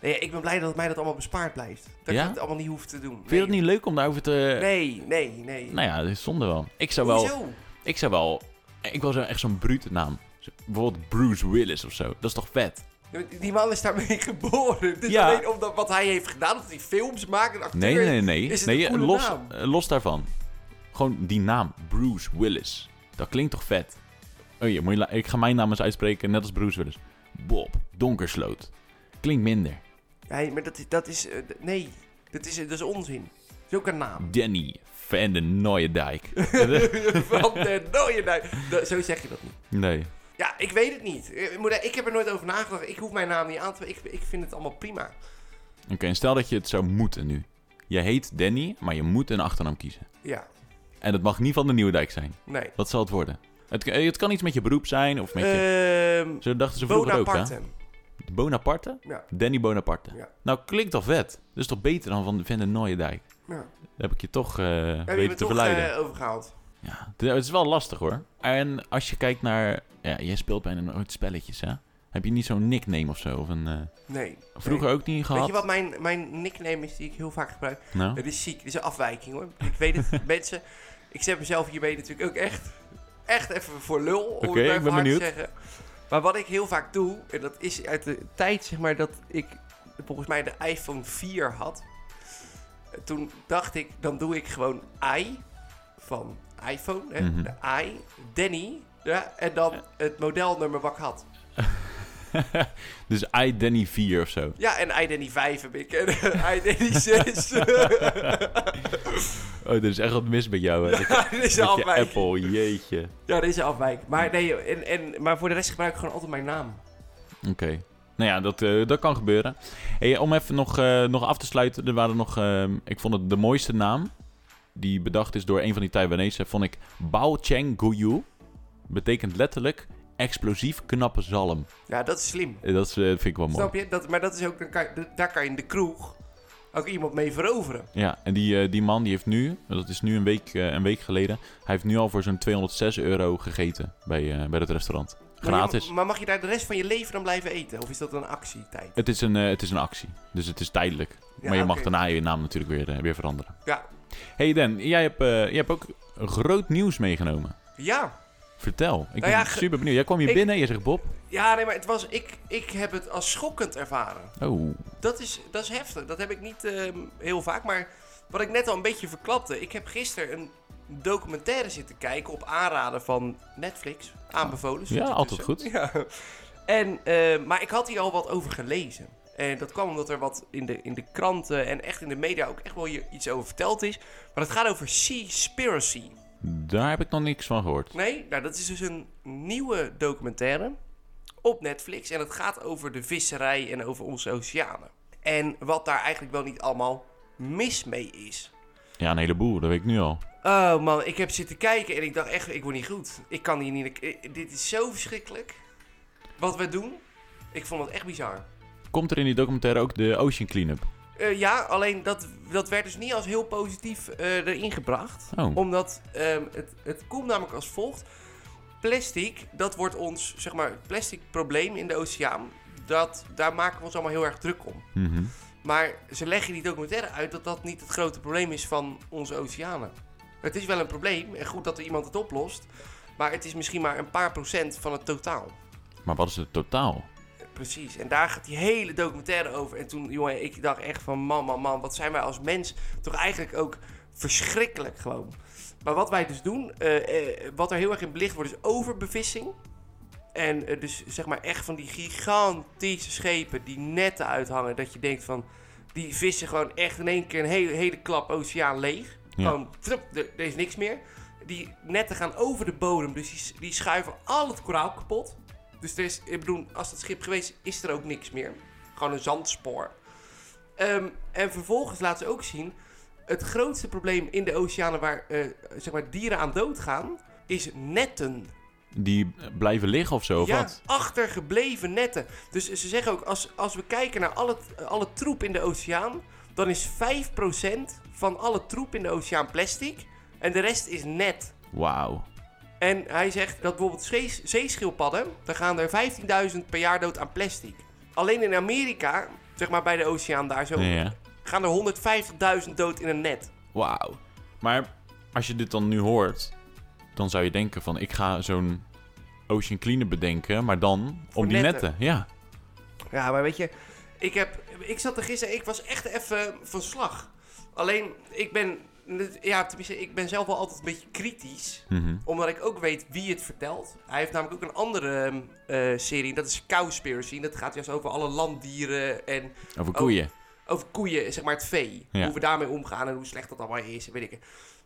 Nee, ik ben blij dat mij dat allemaal bespaard blijft. Dat
Ja?
ik het allemaal niet hoef te doen.
Vind je dat
Nee.
niet leuk om daarover te...
Nee, nee, nee.
Nou ja, dat is zonde wel. Ik zou wel...
Hoezo?
Ik zou wel... Ik wil zo echt zo'n brute naam. Zo- Bijvoorbeeld Bruce Willis of zo. Dat is toch vet?
Die man is daarmee <laughs> geboren. Dus
Ja.
alleen omdat wat hij heeft gedaan, dat hij films maakt en acteur
Nee, nee,
is,
nee. nee.
is het
nee
een coole
los,
naam.
eh, los daarvan. Gewoon die naam. Bruce Willis. Dat klinkt toch vet? Oh ja, moet je la- ik ga mijn naam eens uitspreken, net als Bruce Willis. Bob Donkersloot. Klinkt minder.
Nee, maar dat, is- dat is... eh, d- nee, dat is, dat is onzin. Dat is ook een
<laughs>
naam. <laughs>
Danny van de Nooiendijk.
Van de Nooiendijk. Da- Zo zeg je dat niet.
nee.
Ja, ik weet het niet. Eh, moeder, Ik heb er nooit over nagedacht. Ik hoef mijn naam niet aan te... Ik, ik vind het allemaal prima.
Oké, en stel dat je het zou moeten nu. Je heet Danny, maar je moet een achternaam kiezen.
Ja,
En dat mag niet van de Nieuwendijk zijn.
nee.
Wat zal het worden? Het, eh, het kan iets met je beroep zijn of met je...
Ehm
Zo dachten ze vroeger ook, hè?
Bonaparte.
Bonaparte?
Ja,
Danny Bonaparte.
Ja.
Nou, klinkt al vet. Dat is toch beter dan van Van der Nooiendijk?
ja.
Dat heb ik je toch eh
Daar
weten
heb
te
je toch
verleiden.
eh, overgehaald.
Ja, het- het is wel lastig hoor. En als je kijkt naar... Ja, jij speelt bijna nooit spelletjes, hè? Heb je niet zo'n nickname of zo? Of een, eh,
Nee.
vroeger
nee.
ook niet gehad?
Weet je wat mijn, mijn nickname is die ik heel vaak gebruik?
Nou?
Het is ziek. Dit is een afwijking hoor. Ik weet
<laughs>
het, mensen. Ik zet mezelf hiermee natuurlijk ook echt, echt even voor lul. Om het
Oké,
maar
ik
even
ben
hard
benieuwd.
Te zeggen. Maar wat ik heel vaak doe, en dat is uit de tijd zeg maar dat ik volgens mij de iPhone 4 had. eh, Toen dacht ik, dan doe ik gewoon I van iPhone, hè,
Mhm.
de I, Danny, ja, en dan het modelnummer wat ik had.
Dus I Danny 4 of zo.
Ja, en I Danny 5 heb ik, en <laughs> I Danny
<laughs>
<laughs> 6.
Oh, er is echt wat mis met jou. Hè?
<laughs> Ja, dit is een
Met je
afwijking.
Apple, jeetje.
Ja, dit is een afwijking. Maar, nee, en, en, maar voor de rest gebruik ik gewoon altijd mijn naam.
Oké. Nou ja, dat, eh, dat kan gebeuren. Hey, om even nog, eh, nog af te sluiten. Er waren nog... eh, ik vond het de mooiste naam. Die bedacht is door een van die Taiwanese. Vond ik Bao Cheng Guyu. Betekent letterlijk explosief knappe zalm.
Ja, dat is slim.
Eh, Dat is, eh, vind ik wel mooi.
Snap je? Dat, maar dat is ook, dan kan, je- daar kan je in de kroeg ook iemand mee veroveren.
Ja, en die, eh, die man die heeft nu, dat is nu een week, eh, een week geleden, hij heeft nu al voor zo'n 206 euro gegeten bij, eh, bij dat restaurant.
Maar je-
Gratis.
Maar, mag je daar de rest van je leven dan blijven eten? Of is dat een actietijd?
Het is, een, eh, het is een actie, dus het is tijdelijk.
Ja,
maar je mag
oké.
daarna je naam natuurlijk weer, eh, weer veranderen.
Ja.
hey Dan, jij hebt, eh, jij hebt ook groot nieuws meegenomen.
Ja.
Vertel, ik ben
Nou ja, ge-
super benieuwd. Jij kwam hier
ik-
binnen en je zegt Bob.
Ja, nee, maar het was, ik, ik heb het als schokkend ervaren.
Oh,
Dat is, dat is heftig. Dat heb ik niet ehm, heel vaak. Maar wat ik net al een beetje verklapte. Ik heb gisteren een documentaire zitten kijken op aanraden van Netflix. Aanbevolen. stond
Ja,
er
altijd
tussen. Ja. En, ehm, maar ik had hier al wat over gelezen. En dat kwam omdat er wat in de, in de kranten en echt in de media ook echt wel hier iets over verteld is. Maar het gaat over Seaspiracy.
daar heb ik nog niks van gehoord.
Nee, nou, dat is dus een nieuwe documentaire op Netflix. En het gaat over de visserij en over onze oceanen. En wat daar eigenlijk wel niet allemaal mis mee is.
Ja, een heleboel, dat weet ik nu al.
Oh man, ik heb zitten kijken en ik dacht echt, ik word niet goed. Ik kan hier niet... ik- dit is zo verschrikkelijk. Wat we doen. Ik vond het echt bizar.
Komt er in die documentaire ook de Ocean Cleanup?
Eh, ja, alleen dat, dat werd dus niet als heel positief eh, erin gebracht.
Oh.
Omdat ehm, het, het komt namelijk als volgt. Plastic, dat wordt ons, zeg maar, het plastic probleem in de oceaan. Dat, daar maken we ons allemaal heel erg druk om.
Mhm.
Maar ze leggen in die documentaire uit dat dat niet het grote probleem is van onze oceanen. Het is wel een probleem en goed dat er iemand het oplost. Maar het is misschien maar een paar procent van het totaal.
Maar wat is het totaal?
Precies, en daar gaat die hele documentaire over. En toen, jongen, ik dacht echt van man, man, man, wat zijn wij als mens toch eigenlijk ook verschrikkelijk gewoon. Maar wat wij dus doen, eh, eh, wat er heel erg in belicht wordt, is overbevissing. En eh, dus zeg maar echt van die gigantische schepen die netten uithangen. Dat je denkt van, die vissen gewoon echt in één keer een hele, hele klap oceaan leeg.
Ja.
Gewoon, trup, er, er is niks meer. Die netten gaan over de bodem, dus die, s- die schuiven al het koraal kapot. Dus er is, ik bedoel, als dat schip geweest is, is er ook niks meer. Gewoon een zandspoor. Ehm, en vervolgens laat ze ook zien, het grootste probleem in de oceanen waar eh, zeg maar dieren aan doodgaan, is netten.
Die blijven liggen of zo, of
ja,
wat?
achtergebleven netten. Dus ze zeggen ook, als, als we kijken naar alle, alle troep in de oceaan, dan is 5% van alle troep in de oceaan plastic en de rest is net.
Wauw.
En hij zegt dat bijvoorbeeld zees- zeeschildpadden, daar gaan er 15.000 per jaar dood aan plastic. Alleen in Amerika, zeg maar bij de oceaan daar zo,
Ja, ja.
gaan er 150.000 dood in een net.
Wauw. Maar als je dit dan nu hoort, dan zou je denken van ik ga zo'n Ocean Cleaner bedenken, maar dan om die
netten.
netten. Ja.
Ja, maar weet je, ik, heb, ik zat er gisteren, ik was echt even van slag. Alleen, ik ben, ja, tenminste, ik ben zelf wel altijd een beetje kritisch.
Mhm.
Omdat ik ook weet wie het vertelt. Hij heeft namelijk ook een andere ehm, eh, serie, dat is Cowspiracy. En dat gaat juist over alle landdieren en
Over koeien.
over koeien, zeg maar het vee.
Ja.
Hoe we daarmee omgaan en hoe slecht dat allemaal is, en weet ik. het.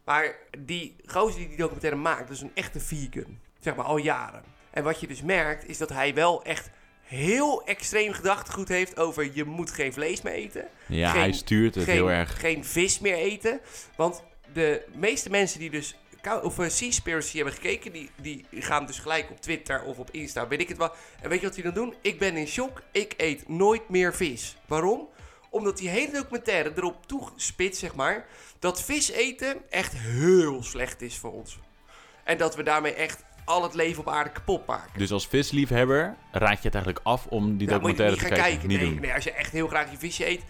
Maar die gozer die die documentaire maakt, dat is een echte vegan. Zeg maar al jaren. En wat je dus merkt, is dat hij wel echt heel extreem gedachtegoed heeft over je moet geen vlees meer eten.
ja,
geen-
hij stuurt het
geen,
heel erg.
geen vis meer eten. Want de meeste mensen die dus kou- of eh, Seaspiracy hebben gekeken, die, die gaan dus gelijk op Twitter of op Insta, weet ik het wel. En weet je wat die dan doen? Ik ben in shock, ik eet nooit meer vis. Waarom? Omdat die hele documentaire erop toegespitst, zeg maar, dat vis eten echt heel slecht is voor ons. En dat we daarmee echt al het leven op aarde kapot maken.
Dus als visliefhebber raad je het eigenlijk af om die
Daar Nou, moet je
documentaire
niet
te
gaan
kijken.
kijken.
Niet
nee,
doen.
nee, als je echt heel graag je visje eet,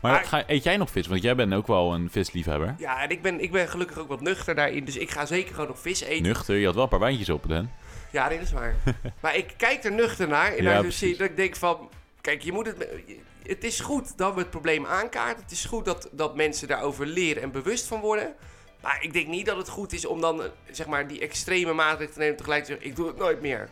Maar,
Maar-
ga- eet jij nog vis? Want jij bent ook wel een visliefhebber.
Ja, en ik ben, ik ben gelukkig ook wat nuchter daarin. Dus ik ga zeker gewoon nog vis eten.
Nuchter, je had wel een paar wijntjes op, Dan.
Ja, dit is
<laughs>
waar. maar ik kijk er nuchter naar. En
Ja,
daar
precies.
zie je dat ik denk van... Kijk, je moet het... Het is goed dat we het probleem aankaarten. Het is goed dat, dat mensen daarover leren en bewust van worden. Maar ik denk niet dat het goed is om dan, eh, zeg maar, die extreme maatregelen te nemen... en tegelijk te zeggen, ik doe het nooit meer.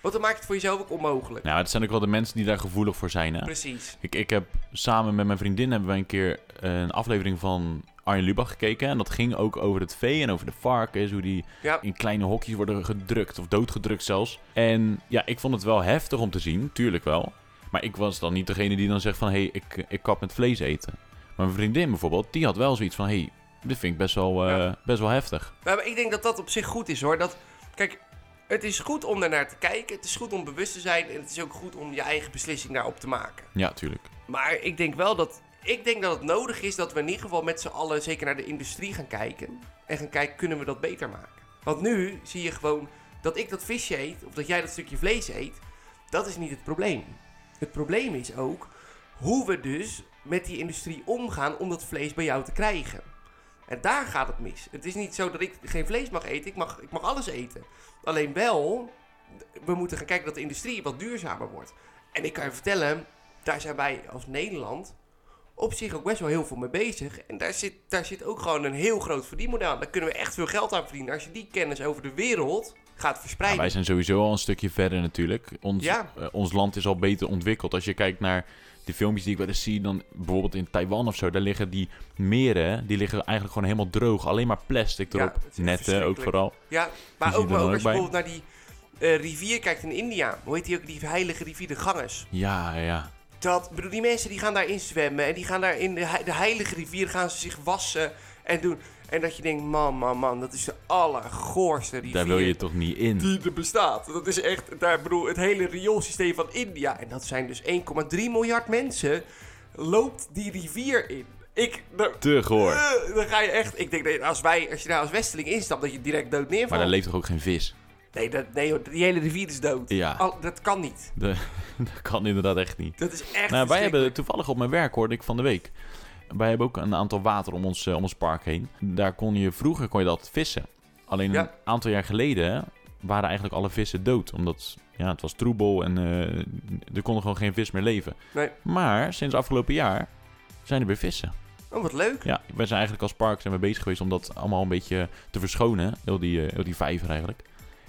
Want dan maakt het voor jezelf ook onmogelijk.
Nou, het zijn ook wel de mensen die daar gevoelig voor zijn. Hè?
Precies.
Ik, ik heb samen met mijn vriendin hebben wij een keer een aflevering van Arjen Lubach gekeken. En dat ging ook over het vee en over de varkens. Hoe die
Ja.
in kleine hokjes worden gedrukt of doodgedrukt zelfs. En ja, ik vond het wel heftig om te zien, tuurlijk wel. Maar ik was dan niet degene die dan zegt van... hé, hey, ik, ik kap met vlees eten. Maar mijn vriendin bijvoorbeeld, die had wel zoiets van... hé, hey, dit vind ik best wel, eh,
Ja.
best wel heftig.
Maar maar ik denk dat dat op zich goed is hoor. Dat, kijk, het is goed om daarnaar te kijken. Het is goed om bewust te zijn. En het is ook goed om je eigen beslissing daarop te maken.
Ja, tuurlijk.
Maar ik denk wel dat ik denk dat het nodig is dat we in ieder geval met z'n allen zeker naar de industrie gaan kijken. En gaan kijken, kunnen we dat beter maken? Want nu zie je gewoon dat ik dat visje eet, of dat jij dat stukje vlees eet. Dat is niet het probleem. Het probleem is ook hoe we dus met die industrie omgaan om dat vlees bij jou te krijgen. En daar gaat het mis. Het is niet zo dat ik geen vlees mag eten. Ik mag, ik mag alles eten. Alleen wel, we moeten gaan kijken dat de industrie wat duurzamer wordt. En ik kan je vertellen, daar zijn wij als Nederland op zich ook best wel heel veel mee bezig. En daar zit, daar zit ook gewoon een heel groot verdienmodel aan. Daar kunnen we echt veel geld aan verdienen. Als je die kennis over de wereld gaat
Ja,
verspreiden.
Nou, wij zijn sowieso al een stukje verder natuurlijk. Ons,
Ja.
eh, ons land is al beter ontwikkeld. Als je kijkt naar de filmpjes die ik wel eens zie, dan bijvoorbeeld in Taiwan of zo, daar liggen die meren, die liggen eigenlijk gewoon helemaal droog. Alleen maar plastic
Ja,
erop.
het is echt
Netten ook
verschrikkelijk.
vooral.
Ja,
Die
maar
zie
ook,
je
maar
dan
ook
ook
als je
bij.
bijvoorbeeld naar die eh, rivier kijkt in India. Hoe heet die ook? Die heilige rivier, de Ganges.
Ja, ja.
Dat, bedoel, die mensen die gaan daarin zwemmen. En die gaan daar in de, hei- de heilige rivier gaan ze zich wassen en doen. En dat je denkt, man, man, man, dat is de allergoorste rivier.
Daar wil je toch niet in.
Die er bestaat. Dat is echt, daar ik bedoel, het hele rioolsysteem van India. En dat zijn dus 1,3 miljard mensen. Loopt die rivier in. Ik, nou,
Te goor.
eh, dan ga je echt, ik denk, nee, als, wij, als je daar als westeling instapt, dat je direct dood neervalt.
Maar daar leeft toch ook geen vis?
Nee, dat, nee hoor, die hele rivier is dood.
Ja.
Al- dat kan niet.
De- <laughs> dat kan inderdaad echt niet.
Dat is echt.
Nou, wij
verschrikkelijk.
hebben toevallig op mijn werk, hoorde ik van de week. Wij hebben ook een aantal water om ons, eh, om ons park heen. Daar kon je vroeger kon je dat vissen. Alleen een
Ja.
aantal jaar geleden waren eigenlijk alle vissen dood. Omdat ja, het was troebel en eh, er kon gewoon geen vis meer leven.
Nee.
Maar sinds afgelopen jaar zijn er weer vissen.
Oh, wat leuk.
Ja, wij zijn eigenlijk als park zijn we bezig geweest om dat allemaal een beetje te verschonen. Heel die, eh, heel die vijver eigenlijk.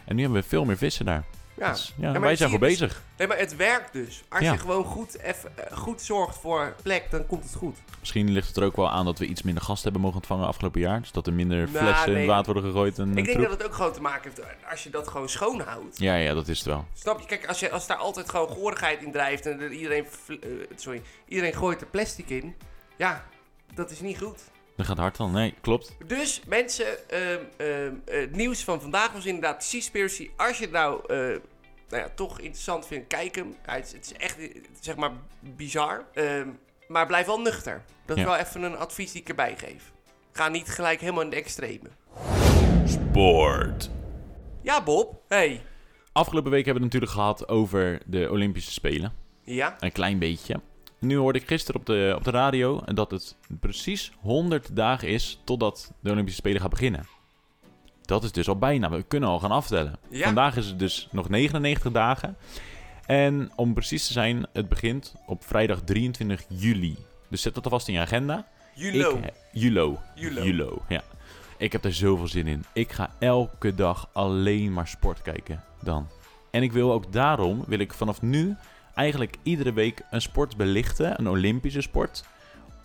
En nu hebben we veel meer vissen daar.
Ja.
Dus, ja,
maar
wij
ik
zijn
zie
goed
het-
bezig.
Nee, maar het werkt dus. Als
Ja.
je gewoon goed, eff- eh, goed zorgt voor plek, dan komt het goed.
Misschien ligt het er ook wel aan dat we iets minder gasten hebben mogen ontvangen afgelopen jaar. Dus dat er minder
Nou,
flessen in
nee.
het water worden gegooid en
ik
eh,
denk
troep.
dat het ook gewoon te maken heeft eh, als je dat gewoon schoonhoudt.
Ja, ja, dat is het wel.
Snap je? Kijk, als, je, als daar altijd gewoon gorigheid in drijft en er iedereen, fl- eh, sorry, iedereen gooit er plastic in. Ja, dat is niet goed.
Dat gaat hard dan. Nee, klopt.
Dus mensen, ehm, ehm, eh, het nieuws van vandaag was inderdaad Seaspiracy. Als je het nou, eh, nou ja, toch interessant vindt, kijk hem. Ja, het, is, het is echt, eh, zeg maar, bizar. Ehm, maar blijf wel nuchter. Dat is
Ja.
wel even een advies die ik erbij geef. Ga niet gelijk helemaal in de extreme.
Sport.
Ja, Bob. Hey.
Afgelopen week hebben we het natuurlijk gehad over de Olympische Spelen.
Ja?
Een klein beetje. Nu hoorde ik gisteren op de, op de radio dat het precies 100 dagen is totdat de Olympische Spelen gaan beginnen. Dat is dus al bijna. We kunnen al gaan aftellen.
Ja.
Vandaag is het dus nog 99 dagen. En om precies te zijn, het begint op vrijdag 23 juli. Dus zet dat alvast in je agenda.
Julo.
Ik, eh, Julo.
Julo.
Julo, ja. Ik heb daar zoveel zin in. Ik ga elke dag alleen maar sport kijken dan. En ik wil ook daarom, wil ik vanaf nu eigenlijk iedere week een sport belichten, een Olympische sport,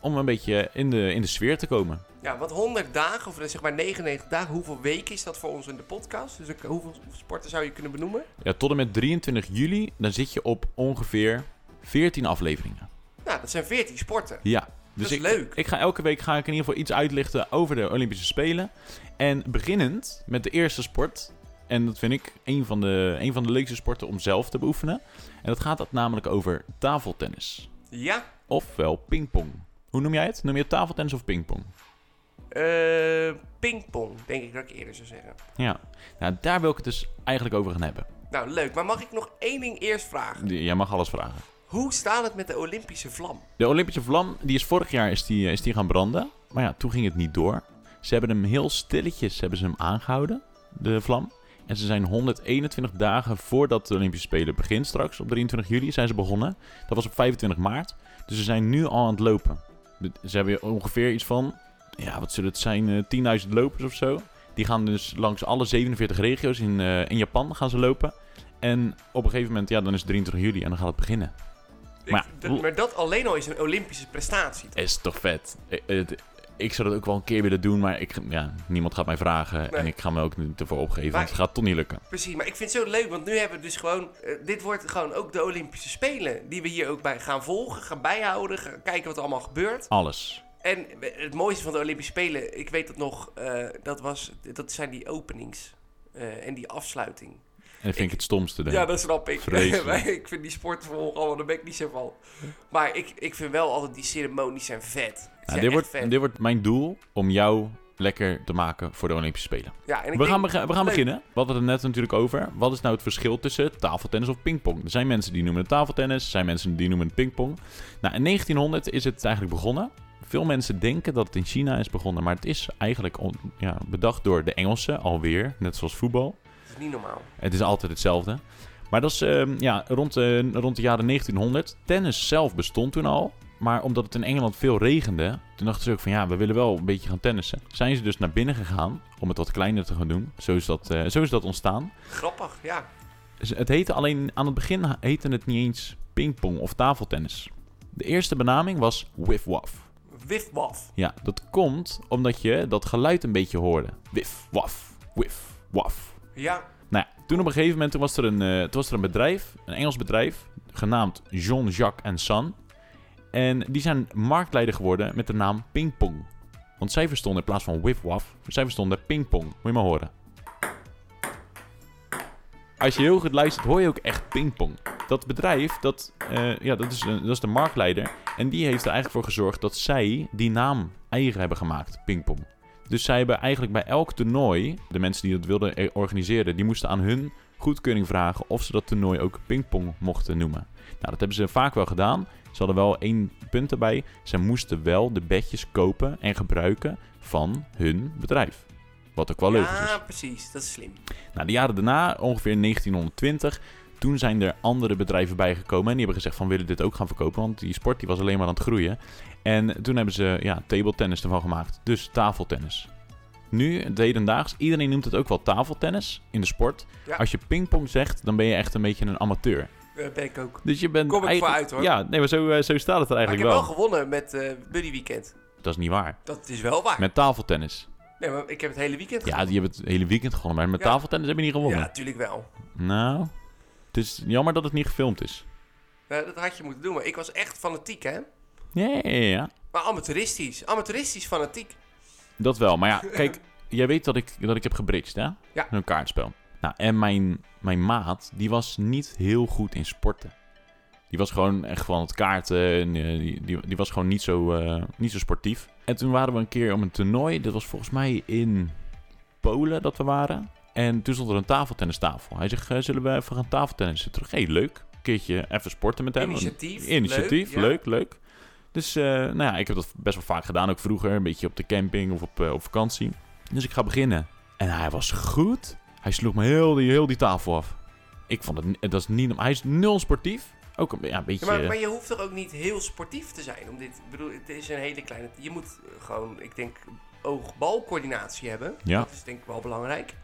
om een beetje in de, in de sfeer te komen.
Ja, want 100 dagen, of zeg maar 99 dagen, hoeveel weken is dat voor ons in de podcast? Dus ook hoeveel sporten zou je kunnen benoemen?
Ja, tot en met 23 juli, dan zit je op ongeveer 14 afleveringen.
Nou, dat zijn 14 sporten.
Ja. Dus
is
ik,
leuk.
Ik ga elke week ga ik in ieder geval iets uitlichten over de Olympische Spelen. En beginnend met de eerste sport. En dat vind ik een van de, een van de leukste sporten om zelf te beoefenen. En dat gaat dat namelijk over tafeltennis.
Ja?
Ofwel pingpong. Hoe noem jij het? Noem je het tafeltennis of pingpong?
Eh, pingpong, denk ik dat ik eerder zou zeggen.
Ja. Nou, daar wil ik het dus eigenlijk over gaan hebben.
Nou, leuk. Maar mag ik nog één ding eerst vragen?
Jij mag alles vragen.
Hoe staat het met de Olympische vlam?
De Olympische vlam, die is vorig jaar is die, eh, is die gaan branden. Maar ja, toen ging het niet door. Ze hebben hem heel stilletjes hebben ze hem aangehouden, de vlam. En ze zijn 121 dagen voordat de Olympische Spelen begint straks, op 23 juli, zijn ze begonnen. Dat was op 25 maart. Dus ze zijn nu al aan het lopen. Ze hebben ongeveer iets van, ja, wat zullen het zijn, eh, 10.000 lopers of zo. Die gaan dus langs alle 47 regio's in, eh, in Japan gaan ze lopen. En op een gegeven moment, ja, dan is het 23 juli en dan gaat het beginnen.
Ik-
Maar-
dat, maar dat alleen al is een Olympische prestatie. toch?
Is toch vet? Ik, het- ik zou dat ook wel een keer willen doen, maar ik, ja, niemand gaat mij vragen. En ik ga me ook niet ervoor opgeven, want het gaat toch niet lukken.
Precies, maar ik vind het zo leuk, want nu hebben we dus gewoon... eh, dit wordt gewoon ook de Olympische Spelen, die we hier ook bij gaan volgen, gaan bijhouden, gaan kijken wat er allemaal gebeurt.
Alles.
En eh, het mooiste van de Olympische Spelen, ik weet dat nog, eh, dat, was, dat zijn die openings eh, en die afsluiting.
vind ik, het stomste. Denk. ik.
Ja, dat snap ik. <laughs>
Vreselijk.
Maar ik vind die sport volgens allemaal, daar ben ik niet zo van. Maar ik, ik vind wel altijd die ceremonies zijn vet. Ze
Nou,
zijn
dit,
echt
wordt,
vet.
dit wordt mijn doel om jou lekker te maken voor de Olympische Spelen.
ja, en ik
We
denk-
gaan, bega- we gaan
leuk.
beginnen. We hadden het net natuurlijk over. Wat is nou het verschil tussen tafeltennis of pingpong? Er zijn mensen die noemen het tafeltennis. Er zijn mensen die noemen het pingpong. Nou, in 1900 is het eigenlijk begonnen. Veel mensen denken dat het in China is begonnen. Maar het is eigenlijk on- ja, bedacht door de Engelsen alweer. Net zoals voetbal.
Dat is niet normaal.
Het is altijd hetzelfde. Maar dat is ehm, ja, rond, eh, rond de jaren 1900. Tennis zelf bestond toen al. Maar omdat het in Engeland veel regende, toen dachten ze ook van ja, we willen wel een beetje gaan tennissen. Zijn ze dus naar binnen gegaan om het wat kleiner te gaan doen. Zo is dat, eh, zo is dat ontstaan.
Grappig, ja.
Ze- Het heette alleen, aan het begin heette het niet eens pingpong of tafeltennis. De eerste benaming was wif-waf.
Wif waf.
Ja, dat komt omdat je dat geluid een beetje hoorde. Wif-waf, wif-waf.
Ja,
Nou ja, toen op een gegeven moment toen was, er een, eh, toen was er een bedrijf, een Engels bedrijf, genaamd John, Jacques Son. En die zijn marktleider geworden met de naam Pingpong. Want zij verstonden in plaats van wif-waf, zij verstonden pingpong. Moet je maar horen. Als je heel goed luistert, hoor je ook echt pingpong. Dat bedrijf, dat, eh, ja, dat, is, een- dat is de marktleider. En die heeft er eigenlijk voor gezorgd dat zij die naam eigen hebben gemaakt, pingpong. Dus zij hebben eigenlijk bij elk toernooi, de mensen die dat wilden eh, organiseren, die moesten aan hun goedkeuring vragen of ze dat toernooi ook pingpong mochten noemen. Nou, dat hebben ze vaak wel gedaan. Ze hadden wel één punt erbij. Ze moesten wel de bedjes kopen en gebruiken van hun bedrijf. Wat ook wel leuk is. dus.
ja precies. Dat is slim.
Nou, de jaren daarna, ongeveer 1920, toen zijn er andere bedrijven bijgekomen. En die hebben gezegd van, we willen dit ook gaan verkopen? Want die sport die was alleen maar aan het groeien. En toen hebben ze ja, tabletennis ervan gemaakt. Dus tafeltennis. Nu, het hedendaags, iedereen noemt het ook wel tafeltennis in de sport.
Ja.
Als je pingpong zegt, dan ben je echt een beetje een amateur.
Eh, ben ik ook.
Dus je bent
Kom ik
eigenlijk-
vooruit, hoor.
Ja, nee, maar zo, eh, zo staat het er
Maar ik
eigenlijk
heb wel
wel.
gewonnen met eh Buddy Weekend.
Dat is niet waar.
Dat is wel waar.
Met tafeltennis.
Nee, maar ik heb het hele weekend
Ja, die hebben het hele weekend gewonnen. Maar met
Ja.
tafeltennis heb je niet gewonnen.
Ja, natuurlijk wel.
Nou, het is jammer dat het niet gefilmd is.
Nou, dat had je moeten doen, maar ik was echt fanatiek, hè?
Ja, ja, ja, ja.
Maar amateuristisch. Amateuristisch fanatiek.
Dat wel. Maar ja, kijk, jij weet dat ik, dat ik heb gebridged, hè?
Ja.
Een kaartspel. Nou, en mijn, mijn maat, die was niet heel goed in sporten. Die was gewoon echt van het kaarten. en, eh, die, die, die was gewoon niet zo, eh, niet zo sportief. En toen waren we een keer om een toernooi. Dat was volgens mij in Polen dat we waren. En toen stond er een tafeltennistafel. Hij zegt, eh, zullen we even gaan tafeltennissen? Terug, hey, leuk. Een keertje even sporten met hem.
Initiatief.
Initiatief,
ja.
leuk, leuk. Dus eh, nou ja, ik heb dat best wel vaak gedaan, ook vroeger. Een beetje op de camping of op, eh, op vakantie. Dus ik ga beginnen. En hij was goed. Hij sloeg me heel die, heel die tafel af. Ik vond het, ni- dat is niet... Hij is nul sportief. Ook een, ja, een beetje...
Ja, maar, maar je hoeft toch ook niet heel sportief te zijn om dit... Ik bedoel, het is een hele kleine... Je moet eh, gewoon, ik denk, oog-balcoördinatie hebben.
Ja.
Dat is denk ik wel belangrijk.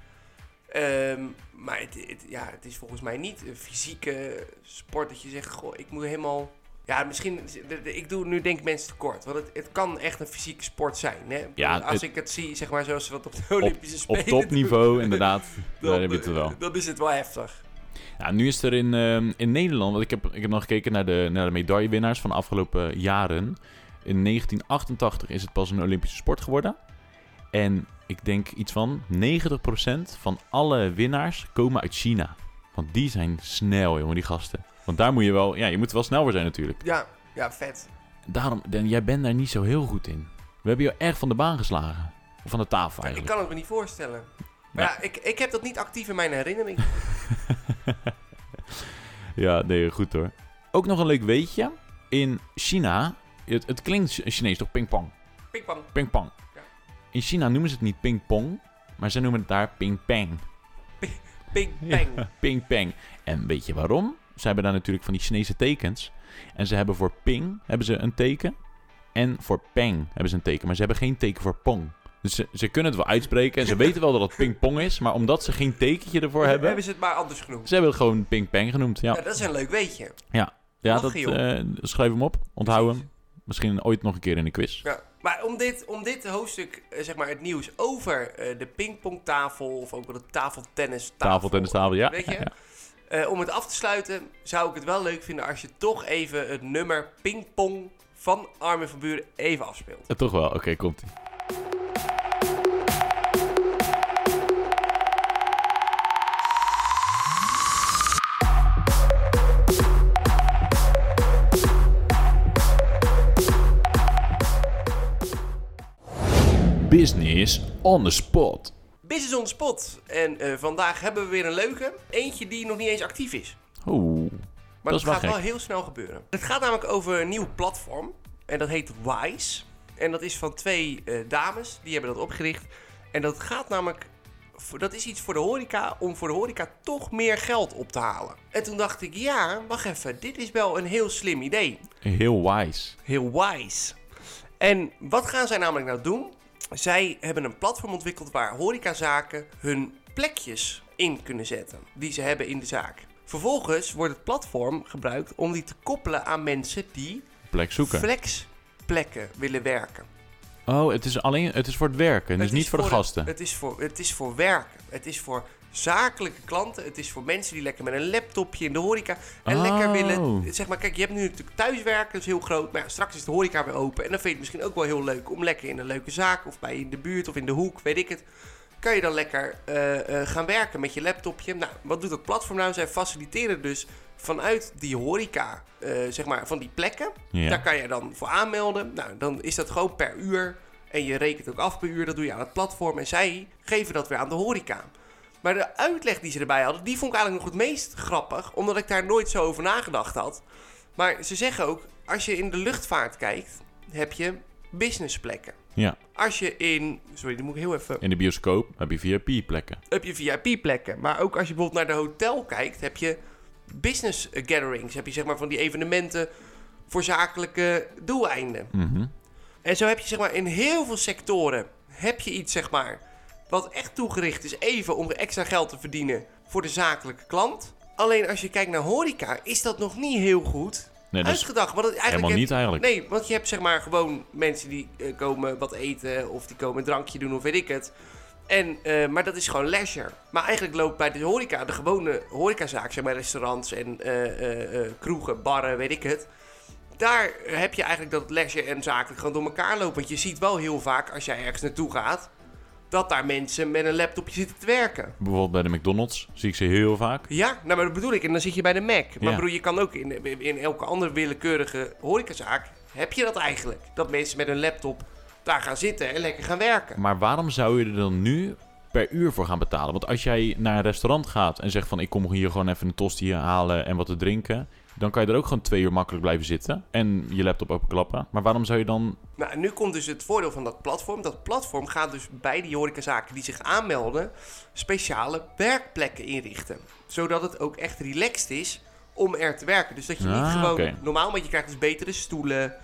Ehm, maar het, het- ja, het is volgens mij niet een fysieke sport dat je zegt... Goh, ik moet helemaal... Ja, misschien... Ik doe nu denk ik mensen tekort. Want het, het kan echt een fysieke sport zijn. Hè?
Ja,
Als
het-
ik het zie, zeg maar, zoals ze dat op de Olympische
op
Spelen <laughs>
topniveau, inderdaad.
doen,
Daar heb je het wel.
Dan is het wel heftig.
Ja, nu is er in, ehm, in Nederland, want ik heb, ik heb nog gekeken naar de, naar de medaillewinnaars van de afgelopen jaren. In 1988 is het pas een Olympische sport geworden. En ik denk iets van 90% van alle winnaars komen uit China. Want die zijn snel, jongen, die gasten. Want daar moet je wel, ja, je moet er wel snel voor zijn natuurlijk.
Ja, ja, vet.
Daarom, Dan, jij bent daar niet zo heel goed in. We hebben je echt van de baan geslagen. Of van de tafel
Ik
eigenlijk.
kan het me niet voorstellen. Maar ja, ik, ik heb dat niet actief in mijn herinnering.
Ja, nee, goed hoor. Ook nog een leuk weetje. In China, het, het klinkt Chinees toch pingpong?
Pikpam.
Pingpong.
Ja.
In China noemen ze het niet pingpong, maar ze noemen het daar pingpeng.
Ping, bang.
Pingpeng. En weet je waarom? Ze hebben daar natuurlijk van die Chinese tekens. En ze hebben voor ping hebben ze een teken. En voor peng hebben ze een teken. Maar ze hebben geen teken voor pong. Dus ze, ze kunnen het wel uitspreken. En ze weten wel dat het pingpong is. Maar omdat ze geen tekentje ervoor hebben.
Hebben ze het maar anders genoemd.
Ze hebben het gewoon pingpeng genoemd. Ja,
Ja, dat is een leuk weetje.
ja dat,
lachen, joh.
eh, schrijf hem op. Onthoud hem. Misschien ooit nog een keer in de quiz.
Ja. Maar om dit, om dit hoofdstuk, eh, zeg maar, het nieuws over eh, de pingpongtafel... of ook wel de tafeltennis
Tafel, tennis, tafel. Ja.
Weet je?
<laughs> Ja, ja.
Eh, om het af te sluiten zou ik het wel leuk vinden als je toch even het nummer pingpong van Armin van Buren even afspeelt.
Eh, Toch wel. Oké, komt ie.
Zo
Business on the spot.
Business on the spot. En eh, vandaag hebben we weer een leuke. Eentje die nog niet eens actief is.
Oeh.
Maar dat,
Dat is wel
gaat
gek.
wel heel snel gebeuren. Het gaat namelijk over een nieuw platform. En dat heet Wise. En dat is van twee eh, dames. Die hebben dat opgericht. En dat gaat namelijk... voor- Dat is iets voor de horeca, om voor de horeca toch meer geld op te halen. En toen dacht ik, ja, wacht even, dit is wel een heel slim idee.
Heel wise.
Heel wise. En wat gaan zij namelijk nou doen? Zij hebben een platform ontwikkeld waar horecazaken hun plekjes in kunnen zetten. Die ze hebben in de zaak. Vervolgens wordt het platform gebruikt om die te koppelen aan mensen die
Plek zoeken.
flexplekken willen werken.
oh, het is alleen het is voor het werken, dus
Het
niet
is
voor de gasten.
Het, het, is voor, het is voor werken. Het is voor zakelijke klanten. Het is voor mensen die lekker met een laptopje in de horeca. En
Oh.
lekker willen. Zeg maar, kijk, je hebt nu natuurlijk thuiswerken, dat is heel groot. Maar ja, straks is de horeca weer open. En dan vind je het misschien ook wel heel leuk om lekker in een leuke zaak. Of bij in de buurt of in de hoek, weet ik het. Kan je dan lekker eh, eh, gaan werken met je laptopje? Nou, wat doet dat platform nou? Zij faciliteren dus vanuit die horeca, eh, zeg maar, van die plekken.
Ja.
Daar kan je dan voor aanmelden. Nou, dan is dat gewoon per uur. En je rekent ook af per uur. Dat doe je aan het platform. En zij geven dat weer aan de horeca. Maar de uitleg die ze erbij hadden, die vond ik eigenlijk nog het meest grappig. Omdat ik daar nooit zo over nagedacht had. Maar ze zeggen ook, als je in de luchtvaart kijkt, heb je businessplekken.
Ja.
Als je in... Sorry, die moet ik heel even...
In de bioscoop heb je VIP plekken.
Heb je VIP-plekken. Maar ook als je bijvoorbeeld naar de hotel kijkt, heb je business eh, gatherings. Heb je zeg maar van die evenementen voor zakelijke doeleinden.
Mhm.
En zo heb je zeg maar in heel veel sectoren heb je iets zeg maar wat echt toegericht is even om extra geld te verdienen voor de zakelijke klant. Alleen als je kijkt naar horeca is dat nog niet heel goed
Nee, dat is
uitgedacht. Want het eigenlijk
helemaal
heb-
niet eigenlijk.
Nee, want je hebt zeg maar gewoon mensen die eh, komen wat eten of die komen een drankje doen of weet ik het. En, eh, maar dat is gewoon leisure. Maar eigenlijk loopt bij de horeca, de gewone horecazaak, zeg maar restaurants en eh, eh, eh, kroegen, barren, weet ik het. Daar heb je eigenlijk dat leisure en zakelijk gewoon door elkaar lopen. Want je ziet wel heel vaak, als jij ergens naartoe gaat, dat daar mensen met een laptopje zitten te werken.
Bijvoorbeeld bij de McDonald's zie ik ze heel vaak.
Ja, nou, maar dat bedoel ik. En dan zit je bij de Mac. Maar
Ja.
broer, je kan ook in, in elke andere willekeurige horecazaak... heb je dat eigenlijk. Dat mensen met hun laptop daar gaan zitten en lekker gaan werken.
Maar waarom zou je er dan nu per uur voor gaan betalen? Want als jij naar een restaurant gaat en zegt van ik kom hier gewoon even een tosti halen en wat te drinken, dan kan je er ook gewoon twee uur makkelijk blijven zitten en je laptop openklappen. Maar waarom zou je dan?
Nou, en nu komt dus het voordeel van dat platform. Dat platform gaat dus bij die horecazaken die zich aanmelden... speciale werkplekken inrichten. Zodat het ook echt relaxed is om er te werken. Dus dat je
Ah,
niet gewoon...
oké.
Normaal, want je krijgt dus betere stoelen.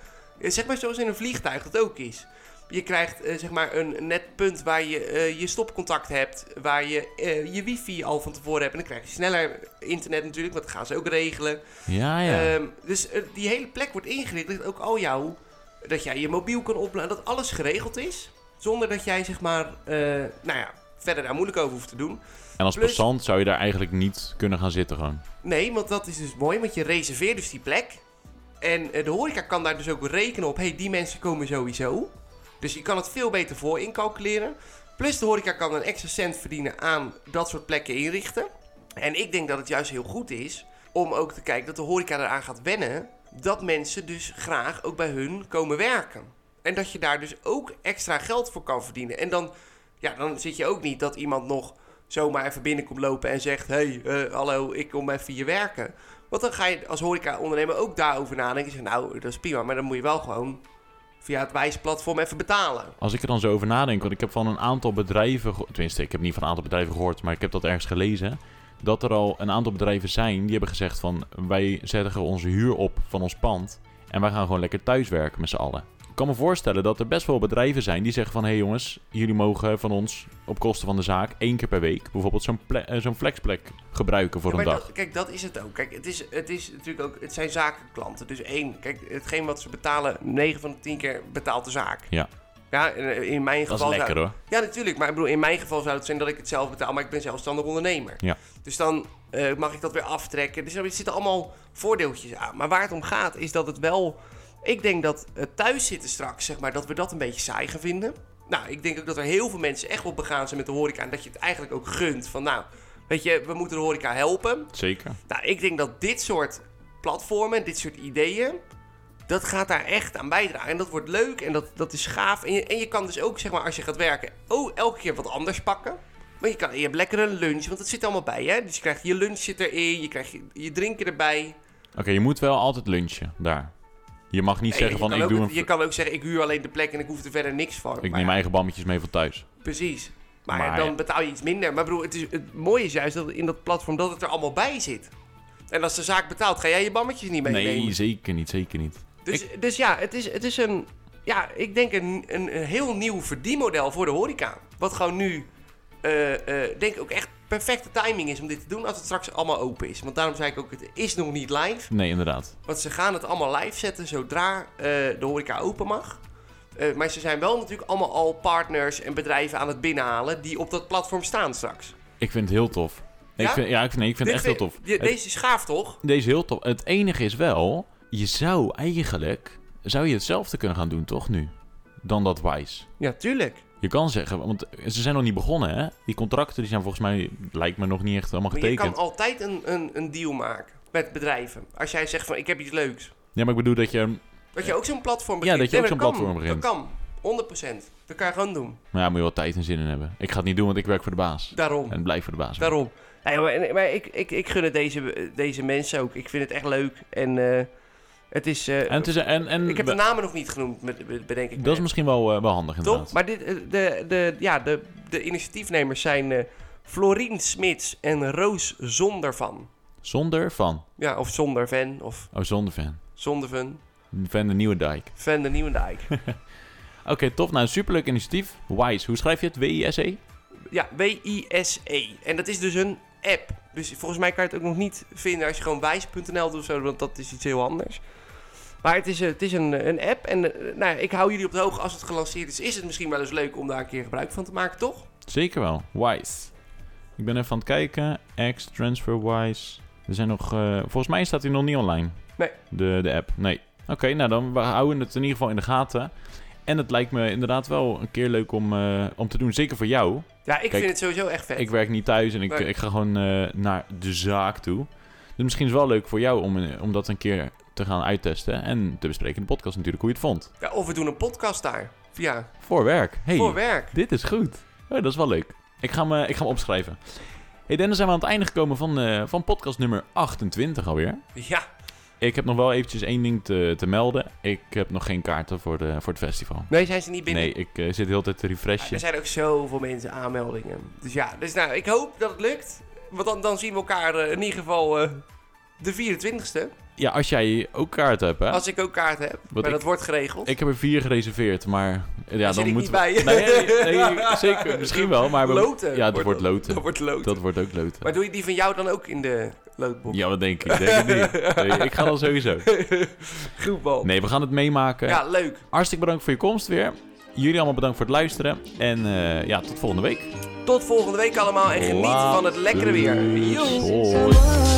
Eh, Zeg maar zoals in een vliegtuig dat ook is. Je krijgt eh, zeg maar een net punt waar je eh, je stopcontact hebt. Waar je eh, je wifi al van tevoren hebt. En dan krijg je sneller internet natuurlijk, want dat gaan ze ook regelen.
Ja, Ah, ja.
Ehm, dus eh, die hele plek wordt ingericht. Dat ook al jouw. Dat jij je mobiel kan opladen. Dat alles geregeld is. Zonder dat jij zeg maar. eh, nou ja, verder daar moeilijk over hoeft te doen.
en als
plus-
passant zou je daar eigenlijk niet kunnen gaan zitten gewoon.
Nee, want dat is dus mooi, want je reserveert dus die plek. En eh, de horeca kan daar dus ook rekenen op, hé, hey, die mensen komen sowieso. Dus je kan het veel beter voor incalculeren. Plus de horeca kan een extra cent verdienen aan dat soort plekken inrichten. En ik denk dat het juist heel goed is om ook te kijken dat de horeca eraan gaat wennen... dat mensen dus graag ook bij hun komen werken. En dat je daar dus ook extra geld voor kan verdienen. En dan, ja, dan zit je ook niet dat iemand nog zomaar even binnenkomt lopen en zegt... hey, eh, hallo, ik kom even hier werken. Want dan ga je als horeca-ondernemer ook daarover nadenken. Zeg, nou, dat is prima, maar dan moet je wel gewoon via het wijsplatform even betalen.
Als ik er dan zo over nadenk, want ik heb van een aantal bedrijven, geho- tenminste ik heb niet van een aantal bedrijven gehoord, maar ik heb dat ergens gelezen, dat er al een aantal bedrijven zijn die hebben gezegd van wij zetten onze huur op van ons pand en wij gaan gewoon lekker thuiswerken met z'n allen. Ik kan me voorstellen dat er best wel bedrijven zijn die zeggen van hé hey jongens, jullie mogen van ons op kosten van de zaak één keer per week bijvoorbeeld zo'n ple- eh, zo'n flexplek gebruiken voor
Ja,
een
maar
dag.
Dat, kijk, dat is het ook. Kijk, het, is, het, is natuurlijk ook, het zijn zakenklanten. Dus één, kijk, hetgeen wat ze betalen, 9 van de 10 keer betaalt de zaak.
Ja.
Ja, in, in mijn
Dat is
geval... zou-
lekker hoor.
Ja, natuurlijk. Maar ik bedoel, in mijn geval zou het zijn dat ik het zelf betaal, maar ik ben zelfstandig ondernemer.
Ja.
Dus dan eh, mag ik dat weer aftrekken. Dus er zitten allemaal voordeeltjes aan. Maar waar het om gaat, is dat het wel. Ik denk dat het thuis zitten straks, zeg maar, dat we dat een beetje saai gaan vinden. Nou, ik denk ook dat er heel veel mensen echt wel begaan zijn met de horeca. En dat je het eigenlijk ook gunt. Van nou, weet je, we moeten de horeca helpen.
Zeker.
Nou, ik denk dat dit soort platformen, dit soort ideeën. dat gaat daar echt aan bijdragen. En dat wordt leuk en dat, dat is gaaf. En je, en je kan dus ook, zeg maar, als je gaat werken, oh, elke keer wat anders pakken. Maar je, kan, je hebt lekker een lunch, want dat zit er allemaal bij, hè? Dus je krijgt je lunch zit erin, je krijgt je, je drinken erbij.
Oké, je moet wel altijd lunchen daar. Je mag niet
Nee,
zeggen
je
van
kan
ik
ook,
doe
Je
een...
kan ook zeggen, ik huur alleen de plek en ik hoef er verder niks van.
Ik
Maar
neem
ja,
eigen bammetjes mee van thuis.
Precies. Maar,
Maar ja.
dan betaal je iets minder. Maar broer, het, is, het mooie is juist dat in dat platform dat het er allemaal bij zit. En als de zaak betaalt, ga jij je bammetjes niet meenemen.
Nee, zeker niet, zeker niet.
Dus, dus ja, het is, het is een, ja, ik denk een, een, een heel nieuw verdienmodel voor de horeca. Wat gewoon nu, eh, eh, denk ik ook echt perfecte timing is om dit te doen als het straks allemaal open is. Want daarom zei ik ook, het is nog niet live.
Nee, inderdaad.
Want ze gaan het allemaal live zetten zodra eh, de horeca open mag. Eh, maar ze zijn wel natuurlijk allemaal al partners en bedrijven aan het binnenhalen die op dat platform staan straks.
Ik vind het heel tof. Nee,
Ja?
Ik vind, ja, ik vind, nee, ik vind het echt
Dit
heel
vind-
tof.
je-
Het-
Deze is gaaf toch?
Deze heel tof. Het enige is wel, je zou eigenlijk, zou je hetzelfde kunnen gaan doen toch nu? Dan dat Wise.
Ja, tuurlijk.
Je kan zeggen, want ze zijn nog niet begonnen hè. Die contracten die zijn volgens mij, lijkt me nog niet echt allemaal
Maar je kan
getekend.
altijd een, een, een deal maken met bedrijven. Als jij zegt van ik heb iets leuks.
Ja, maar ik bedoel dat je,
Dat je ook zo'n platform
Ja,
begint.
dat je ook
Nee,
zo'n
kan.
platform begint.
Dat kan, 100%. Dat kan je gewoon doen.
nou ja, moet je wel tijd en zin in hebben. Ik ga het niet doen, want ik werk voor de baas.
Daarom.
En blijf voor de baas.
Daarom. Nee, maar maar ik, ik, ik gun het deze, deze mensen ook. Ik vind het echt leuk. En eh, het is... eh,
En, het is, en, en
ik heb
we-
de namen nog niet genoemd, met- met- bedenk ik.
dat is
me.
misschien wel, eh, wel handig inderdaad.
Toch? Maar dit, eh, de, de, ja, de, de initiatiefnemers zijn eh Florien Smits en Roos Zondervan.
Zonder van.
Ja, of Zonderven. Of
Oh, zonder fan.
Zonderven.
Van de Nieuwe Dijk.
Van de Nieuwendijk.
Oké, tof. Nou, superleuk initiatief. Wise. Hoe schrijf je het? W-I-S-E?
Ja, W-I-S-E. En dat is dus een app. Dus volgens mij kan je het ook nog niet vinden als je gewoon wijs.nl doet of zo, want dat is iets heel anders. Maar het is, eh, het is een, een app en eh, nou, ja, ik hou jullie op de hoogte als het gelanceerd is. Is het misschien wel eens leuk om daar een keer gebruik van te maken, toch?
Zeker wel. Wise. Ik ben even aan het kijken. X, TransferWise. Er zijn nog... eh, volgens mij staat hij nog niet online.
Nee.
De, de app. Nee. Oké, nou dan we houden het in ieder geval in de gaten. En het lijkt me inderdaad wel een keer leuk om, eh, om te doen. Zeker voor jou.
Ja, ik
Kijk,
vind het sowieso echt vet.
Ik werk niet thuis en ik,
Nee.
ik ga gewoon eh, naar de zaak toe. Dus misschien is het wel leuk voor jou om, eh, om dat een keer te gaan uittesten. En te bespreken in de podcast natuurlijk hoe je het vond.
Ja, of we doen een podcast daar. Ja,
Voor werk. Hey,
voor werk.
dit is goed. Oh, dat is wel leuk. Ik ga me, ik ga me opschrijven. Hey, dan zijn we aan het einde gekomen van, eh, van podcast nummer 28 alweer.
Ja,
Ik heb nog wel eventjes één ding te, te melden. Ik heb nog geen kaarten voor, de, voor het festival.
nee, zijn ze niet binnen.
Nee, ik eh, zit de hele tijd te
Er
refreshen.
zijn ook zoveel mensen aanmeldingen. Dus ja, dus nou, ik hoop dat het lukt. Want dan, dan zien we elkaar eh, in ieder geval eh, de 24ste.
Ja, als jij ook kaarten hebt, hè?
Als ik ook kaart heb. maar
ik-
dat wordt geregeld.
Ik heb er vier gereserveerd, maar... eh, Ja,
Daar zit
dan
ik
moeten
niet
we...
bij.
Nee, nee,
<laughs>
nee, zeker. Misschien wel, maar... we-
loten.
Ja, dat wordt loten.
Dat wordt loten.
Dat wordt ook loten.
Maar doe je die van jou dan ook in de loodboek?
Ja, wat denk ik? Ik Denk het niet. Nee, ik ga dan
<laughs>
sowieso.
Goed bal.
Nee, we gaan het meemaken.
Ja, leuk.
Hartstikke bedankt voor je komst weer. Jullie allemaal bedankt voor het luisteren. En eh, ja, tot volgende week.
Tot volgende week allemaal en geniet
Laat
van het lekkere weer. Joe.
Hoi.